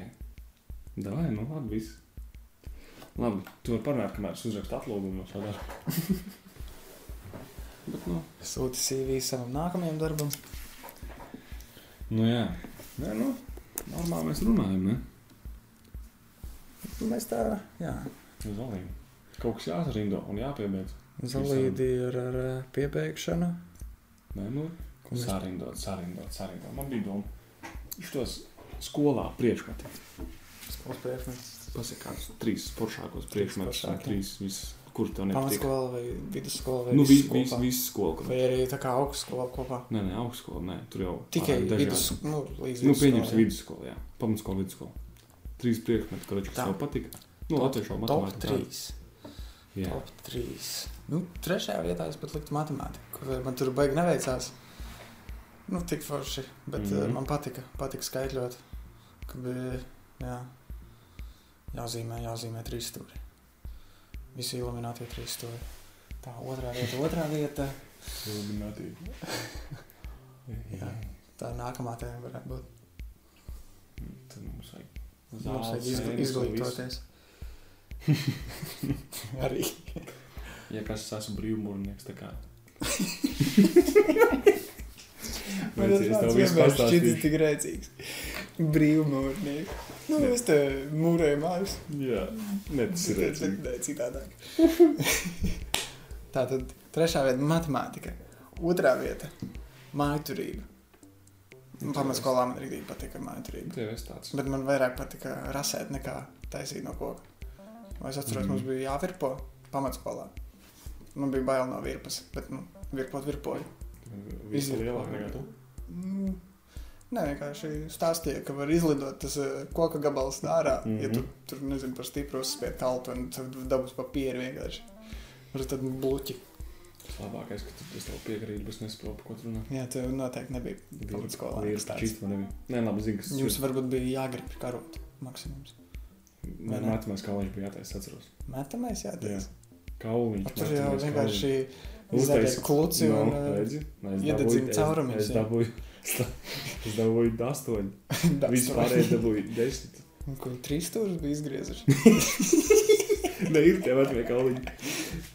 Speaker 2: Davai, nu labi, viss. Labi, tu vari parunāt, kamēr es uzrakstu atlūgumu no šādā. Bet, nu,
Speaker 3: Sūti CV savam nākamajam darbam.
Speaker 2: nu jā, Nē, nu, normāli mēs runājam, ne?
Speaker 3: Nu, Mēs tā, jā,
Speaker 2: Zalīgi. Kaut kas jāsarindo un jāpiebeidz.
Speaker 3: zelīdi ir ar ā, piebeigšanu.
Speaker 2: Nē, nu,
Speaker 3: Ko mēs-
Speaker 2: sarindot, sarindot, sarindot. Man bija doma, šitos skolā priekšmeti.
Speaker 3: Skolas priekšmets.
Speaker 2: Pasaka, kādus trīs foršākos priekšmetus, un
Speaker 3: foršākie.
Speaker 2: trīs, vis, kur tev nepatīk.
Speaker 3: Pamatskola vai vidusskola vai
Speaker 2: Nu,
Speaker 3: viss
Speaker 2: viss, viss,
Speaker 3: kopā?
Speaker 2: viss skola. kur-
Speaker 3: Vai arī tā kā augstskola kopā.
Speaker 2: Nē, nē, augstskola, nē, tur jau
Speaker 3: Tikai
Speaker 2: pārāk dažādi.
Speaker 3: vidus, nu, līdz
Speaker 2: Nu,
Speaker 3: vidusskolai.
Speaker 2: pieņemsim vidusskolu, jā. Pamatskola, vidusskola. Trīs priekšmeti, kurš
Speaker 3: Tā.
Speaker 2: tev patika. Nu, latviešu
Speaker 3: Top
Speaker 2: matemātikā.
Speaker 3: 3.
Speaker 2: Jā.
Speaker 3: Top 3. Nu, trešajā vietā es pat liktu matemātiku. kur Man tur baigi neveicās. Nu, tik forši. Bet mm
Speaker 2: Mhm.
Speaker 3: -hmm. man patika, patika skaitļot. Ka bija jā, jāzīmē, jāzīmē trīs stūri. Visi iluminētie trīs stūri. Tā otrā vieta, otrā vieta.
Speaker 2: Illuminati.
Speaker 3: Jā. Tā nākamā tēma varētu būt.
Speaker 2: Tad mums vajag.
Speaker 3: Mums vajag izgl-
Speaker 2: sēnes un visu.
Speaker 3: izglītoties. Arī.
Speaker 2: Ja kas es esmu brīvmūrnieks, tā kā.
Speaker 3: Man tas
Speaker 2: Vecī, es tev
Speaker 3: vārds
Speaker 2: visu
Speaker 3: vienmēr šķitis
Speaker 2: pastāstīšu.
Speaker 3: tik rēcīgs. Brīvmūrnieki. Nu, es te mūrēju mājas.
Speaker 2: Jā, ne, tas ir
Speaker 3: Citādi-
Speaker 2: redzīgi.
Speaker 3: nē, Citādāk. Tā tad trešā vieta - matemātika. Otrā vieta - mājaturība. Nu, Pamatskolā man arī patika mājaturība.
Speaker 2: Tev es tāds.
Speaker 3: Bet man vairāk patika rasēt nekā taisīt no koka. Un Es atceros, mm.
Speaker 2: Mhm.
Speaker 3: mums bija jāvirpo pamatskolā. Man bija bail no virpas, bet nu, virpot virpoju.
Speaker 2: Visu
Speaker 3: Izvirpo.
Speaker 2: lielāk nekā tu.
Speaker 3: Nu, Nē, vienkārši stāstīja, ka var izlidot tas eh, koka gabals ārā, mm -hmm. ja
Speaker 2: Mhm.
Speaker 3: tu tur nezinu par stipru uzspiedu kaltu un tad dabūs papīru vienkārši. Ar tad bluķi.
Speaker 2: Labākais, ka tu es tev piekrītu, bet es nesaprotu, par ko tu runā.
Speaker 3: Jā, tev noteikti nebija pamats skolā. nekas
Speaker 2: Līdz
Speaker 3: tāds.
Speaker 2: šķīt man nebija. Nē, labi, zinu, kas
Speaker 3: Jums varbūt bija jāgrib karot maksimums. vai
Speaker 2: Nē,
Speaker 3: ne?
Speaker 2: matemāts kauliņš bija jātais, atceros.
Speaker 3: Metamais jātiek.
Speaker 2: Kauliņš.
Speaker 3: Tur jau
Speaker 2: matemāts kauliņš.
Speaker 3: vienkārši
Speaker 2: Uztais-
Speaker 3: uztaisīja kluci
Speaker 2: Nu,
Speaker 3: un eh,
Speaker 2: redzi, nu, es
Speaker 3: iededzina
Speaker 2: dabūju- es-
Speaker 3: caurumiņus,
Speaker 2: Es
Speaker 3: jā.
Speaker 2: dabūju, es dabūju astoņi.
Speaker 3: eh, dabas
Speaker 2: Vispārēji dabūju desmit.
Speaker 3: Un Ko trīs stūrus bija izgriezuši?
Speaker 2: Nē, ir tev atveikt kauliņu.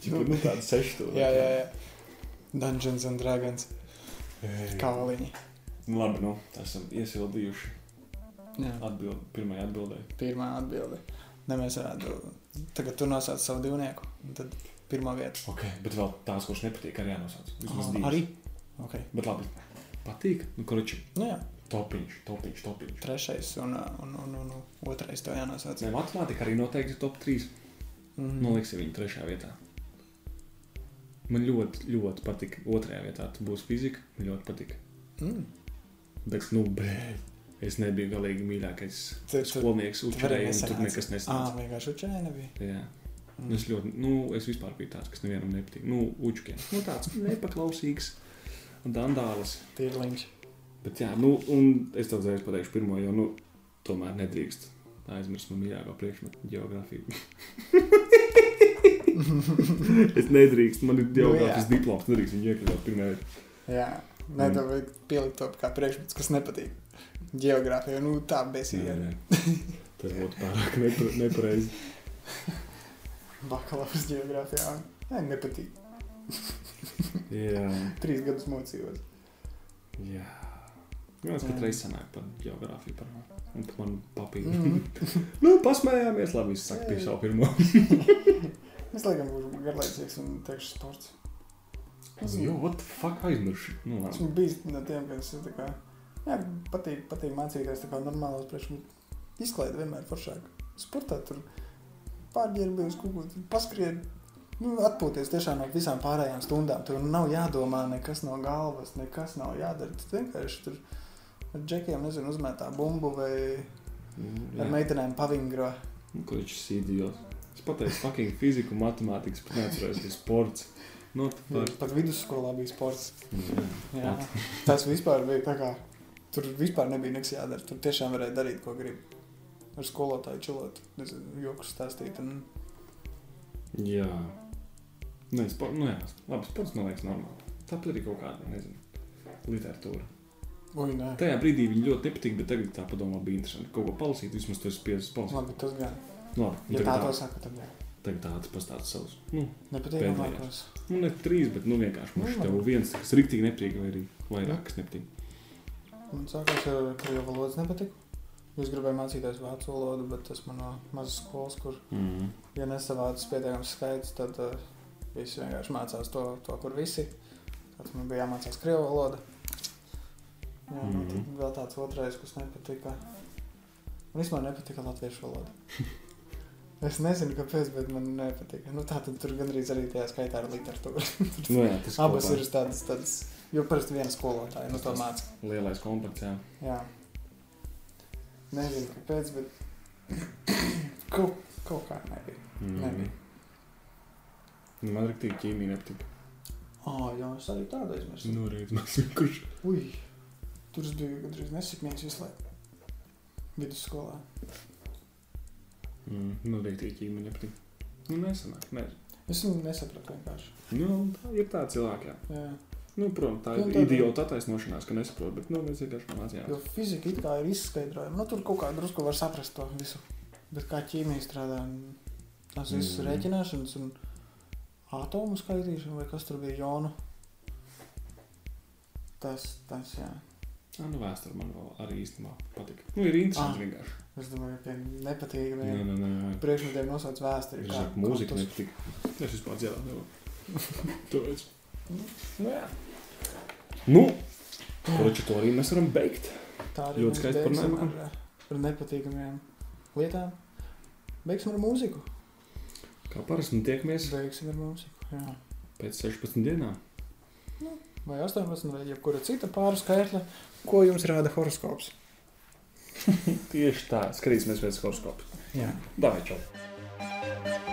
Speaker 2: Čipa, nu tāda seši to.
Speaker 3: jā, jā, jā. Dungeons and Dragons kāliņi.
Speaker 2: Nu, labi, nu, esam iesildījuši
Speaker 3: Jā.
Speaker 2: atbild, pirmai atbildē.
Speaker 3: Pirmā atbilde. Ne, mēs varētu. Tagad tu nosauc savu divnieku. un Tad pirmā vieta.
Speaker 2: Ok, bet vēl tās, kurš nepatīk, arī jānosauc. Vismaz
Speaker 3: Ah,
Speaker 2: divas.
Speaker 3: Arī. Okay.
Speaker 2: Bet labi, patīk. Nu, korči,
Speaker 3: Nu, jā,
Speaker 2: topiņš, topiņš, topiņš.
Speaker 3: trešais un, uh, un, un, un, un otrais tev jānosauc.
Speaker 2: Nē, matemātika arī noteikti top 3. Nu,
Speaker 3: Mm.
Speaker 2: Noliksim viņu trešajā vietā. Man ļoti, ļoti patīk. Otrajā vietā tu būsi fizika. Man ļoti patīk.
Speaker 3: Mm.
Speaker 2: Bet, nu, blē, es nebiju galīgi mīļākais
Speaker 3: Tu- tu-
Speaker 2: skolnieks.
Speaker 3: tu varēji
Speaker 2: Uzturēju, un tur
Speaker 3: nesanāca.
Speaker 2: nekas
Speaker 3: Ah,
Speaker 2: nesanāca.
Speaker 3: vienkārši učēja nebija.
Speaker 2: Jā.
Speaker 3: Mm.
Speaker 2: Nu, Es ļoti, nu, es vispār biju tāds, kas nevienam nepatīk. Nu, uķis, nu, tāds nepaklausīgs, dandālis.
Speaker 3: Tīrliņš.
Speaker 2: Bet, jā, nu, un es tev uzreiz pateikšu, pirmo, jo, nu, tomēr nedrīkst aizmirst man mīļāko priekšmetu, geogrāfiju. es nedrīkstu, man ir geogrāfijas
Speaker 3: Nu,
Speaker 2: diploms, nedrīkst viņu iekļaut pirmajā vietā.
Speaker 3: Jā, nē,
Speaker 2: Mm.
Speaker 3: tev vajag pielikt to kā priekšmets, kas nepatīk. Geogrāfija, nu tā besīga.
Speaker 2: Nē, nē. Tas būtu pārāk nepre, nepareizi.
Speaker 3: Bakalaurs geogrāfijā. Nē, nepatīk.
Speaker 2: Jā,
Speaker 3: Trīs gadus mocījos.
Speaker 2: jā. Mēs
Speaker 3: Jā.
Speaker 2: katru reizi sanāk par geogrāfiju, par, un par manu papīru.
Speaker 3: Mm.
Speaker 2: Nu, pasmējāmies, labi, es saku, pie savu pirmo.
Speaker 3: Es laikam būšu garlaicīgs un teikšu sports.
Speaker 2: Nu, Jo, what the fuck aizmirsu? Nu, labi.
Speaker 3: Esmu bijis no tiem, kas ir tā kā, jā, patīk, patīk mācīties tā kā normālos priekšmetus. Izklaide vienmēr foršāk. Sportā tur pārģērbies, kaut ko tur paskriet. Nu, atpūties tiešām no visām pārējām stundām. Tur nav jādomā nekas no galvas, nekas nav jādara. Tu vienkārši tur ar džekiem, nezinu, uzmētā bumbu vai
Speaker 2: Nu,
Speaker 3: ar
Speaker 2: jā.
Speaker 3: meitenēm pavingro.
Speaker 2: Nu, Ko viņš ir idiots? Es pateicu, fucking fiziku, matemātikas, bet neatceros, ka sports. Nu, tā
Speaker 3: Pat vidusskolā bija sports.
Speaker 2: ir.
Speaker 3: Jā. Tas vispār bija tā kā. Tur vispār nebija nekas jādara. Tur tiešām varēja darīt, ko grib. Ar skolotāju čilot, nezinu, joks stāstīt. Un...
Speaker 2: Jā. Nē, sports, nu jā, labi, sports man liekas normāli. Tāpat arī kaut kāda, nezinu, literatūra.
Speaker 3: Ui, nē.
Speaker 2: Tajā brīdī viņi ļoti nepatīk, bet tagad tā padomā bija interesanti. Kaut ko palasīt, vismaz tu esi spiests palasīt.
Speaker 3: Labi, tas gan.
Speaker 2: Nu, labi,
Speaker 3: Ja tā
Speaker 2: tagad
Speaker 3: to
Speaker 2: tā.
Speaker 3: saka, tad jā.
Speaker 2: Tagad tāds pastāsta savus. Nu,
Speaker 3: Nepatīkamākos.
Speaker 2: nu ne trīs, bet nu vienkārši man
Speaker 3: Nu,
Speaker 2: šeit viens, kas riktīgi nepatīk, vai arī vairāk, kas nepatīk.
Speaker 3: Man sākās, ka krievu valodas nepatika. Es gribēju mācīties vācu valodu, bet tas man no mazas skolas, kur,
Speaker 2: Mm.
Speaker 3: ja nesavācas pietiekams skaits, tad uh, visi vienkārši mācās to, to kur visi. Tad man bija jāmācās krievu valoda. Jā, mm
Speaker 2: Mhm.
Speaker 3: -hmm. tad vēl tāds otrais, kas nepatika. Man vispār nepatika latviešu valoda. es nezinu, kāpēc, bet man nepatika. Nu, tā tad tur gandrīz arī tajā skaitā ar literatūru.
Speaker 2: Nu, jā, tas
Speaker 3: Abas
Speaker 2: kopā
Speaker 3: ir uz tādas, tādas, jo parasti viena skolotāja nu, to māca.
Speaker 2: lielais komplekts. jā.
Speaker 3: Jā. Nezinu, kāpēc, bet kaut, kaut kā nebija. Nebija.
Speaker 2: Mm. Nu, Man ir tik ķīmija nepatīk.
Speaker 3: Oh, jā, es arī tādu aizmirsu.
Speaker 2: Nu, reiz mēs vienkārši.
Speaker 3: Ui, tur es biju gandrīz nesikmīgs visu laiku. Vidusskolā.
Speaker 2: Mm. Nu, reiz tik ķīmija nepatīk. Nu, nesanāk, nē.
Speaker 3: Es viņu nesapratu vienkārši.
Speaker 2: Nu, tā ir tā cilvēka. jā.
Speaker 3: Jā.
Speaker 2: Nu, protams, tā
Speaker 3: Nu,
Speaker 2: ir
Speaker 3: tā-
Speaker 2: idiota attaisnošanās, ka nesaprot, bet nu, mēs vienkārši mācījāmies.
Speaker 3: Jo fizika it kā ir izskaidrojama. Nu, tur kaut kā drusku var saprast to visu. Bet kā ķīmija strādā, un tās visas
Speaker 2: Mm.
Speaker 3: mm. rēķināšanas un atomu skaitīšana, vai kas tur bija jonu. Tas, tas, jā.
Speaker 2: Jā, nu, vēsture man vēl arī īstenībā patīk. Nu, ir interesanti
Speaker 3: Ah.
Speaker 2: vienkārši.
Speaker 3: Es domāju, ka tiem nepatīkamiem
Speaker 2: Nē, nē, nē. nē.
Speaker 3: priekšmetiem nosauc vēsturi.
Speaker 2: Viņa saka, mūzika nepatīk. Es vispār dzirdēju, nevaru. Tāpēc.
Speaker 3: Nu, jā.
Speaker 2: Nu, Kroķi to arī mēs varam beigt.
Speaker 3: Tā arī
Speaker 2: Ļoti
Speaker 3: mēs
Speaker 2: skaisti par
Speaker 3: beigsim
Speaker 2: nemāku.
Speaker 3: ar, eh, Ar nepatīkamiem lietām. Beigsim ar mūziku.
Speaker 2: Kā parasti nu, tiekamies
Speaker 3: Beigsim ar mūziku. Jā.
Speaker 2: pēc 16 dienām.
Speaker 3: Vai 18 vai jebkura cita pāru skaitļa, ko jums rāda horoskops?
Speaker 2: Tieši tā, skatīsimies pēc horoskopa.
Speaker 3: Jā.
Speaker 2: Davai, čau!
Speaker 1: Vispotē.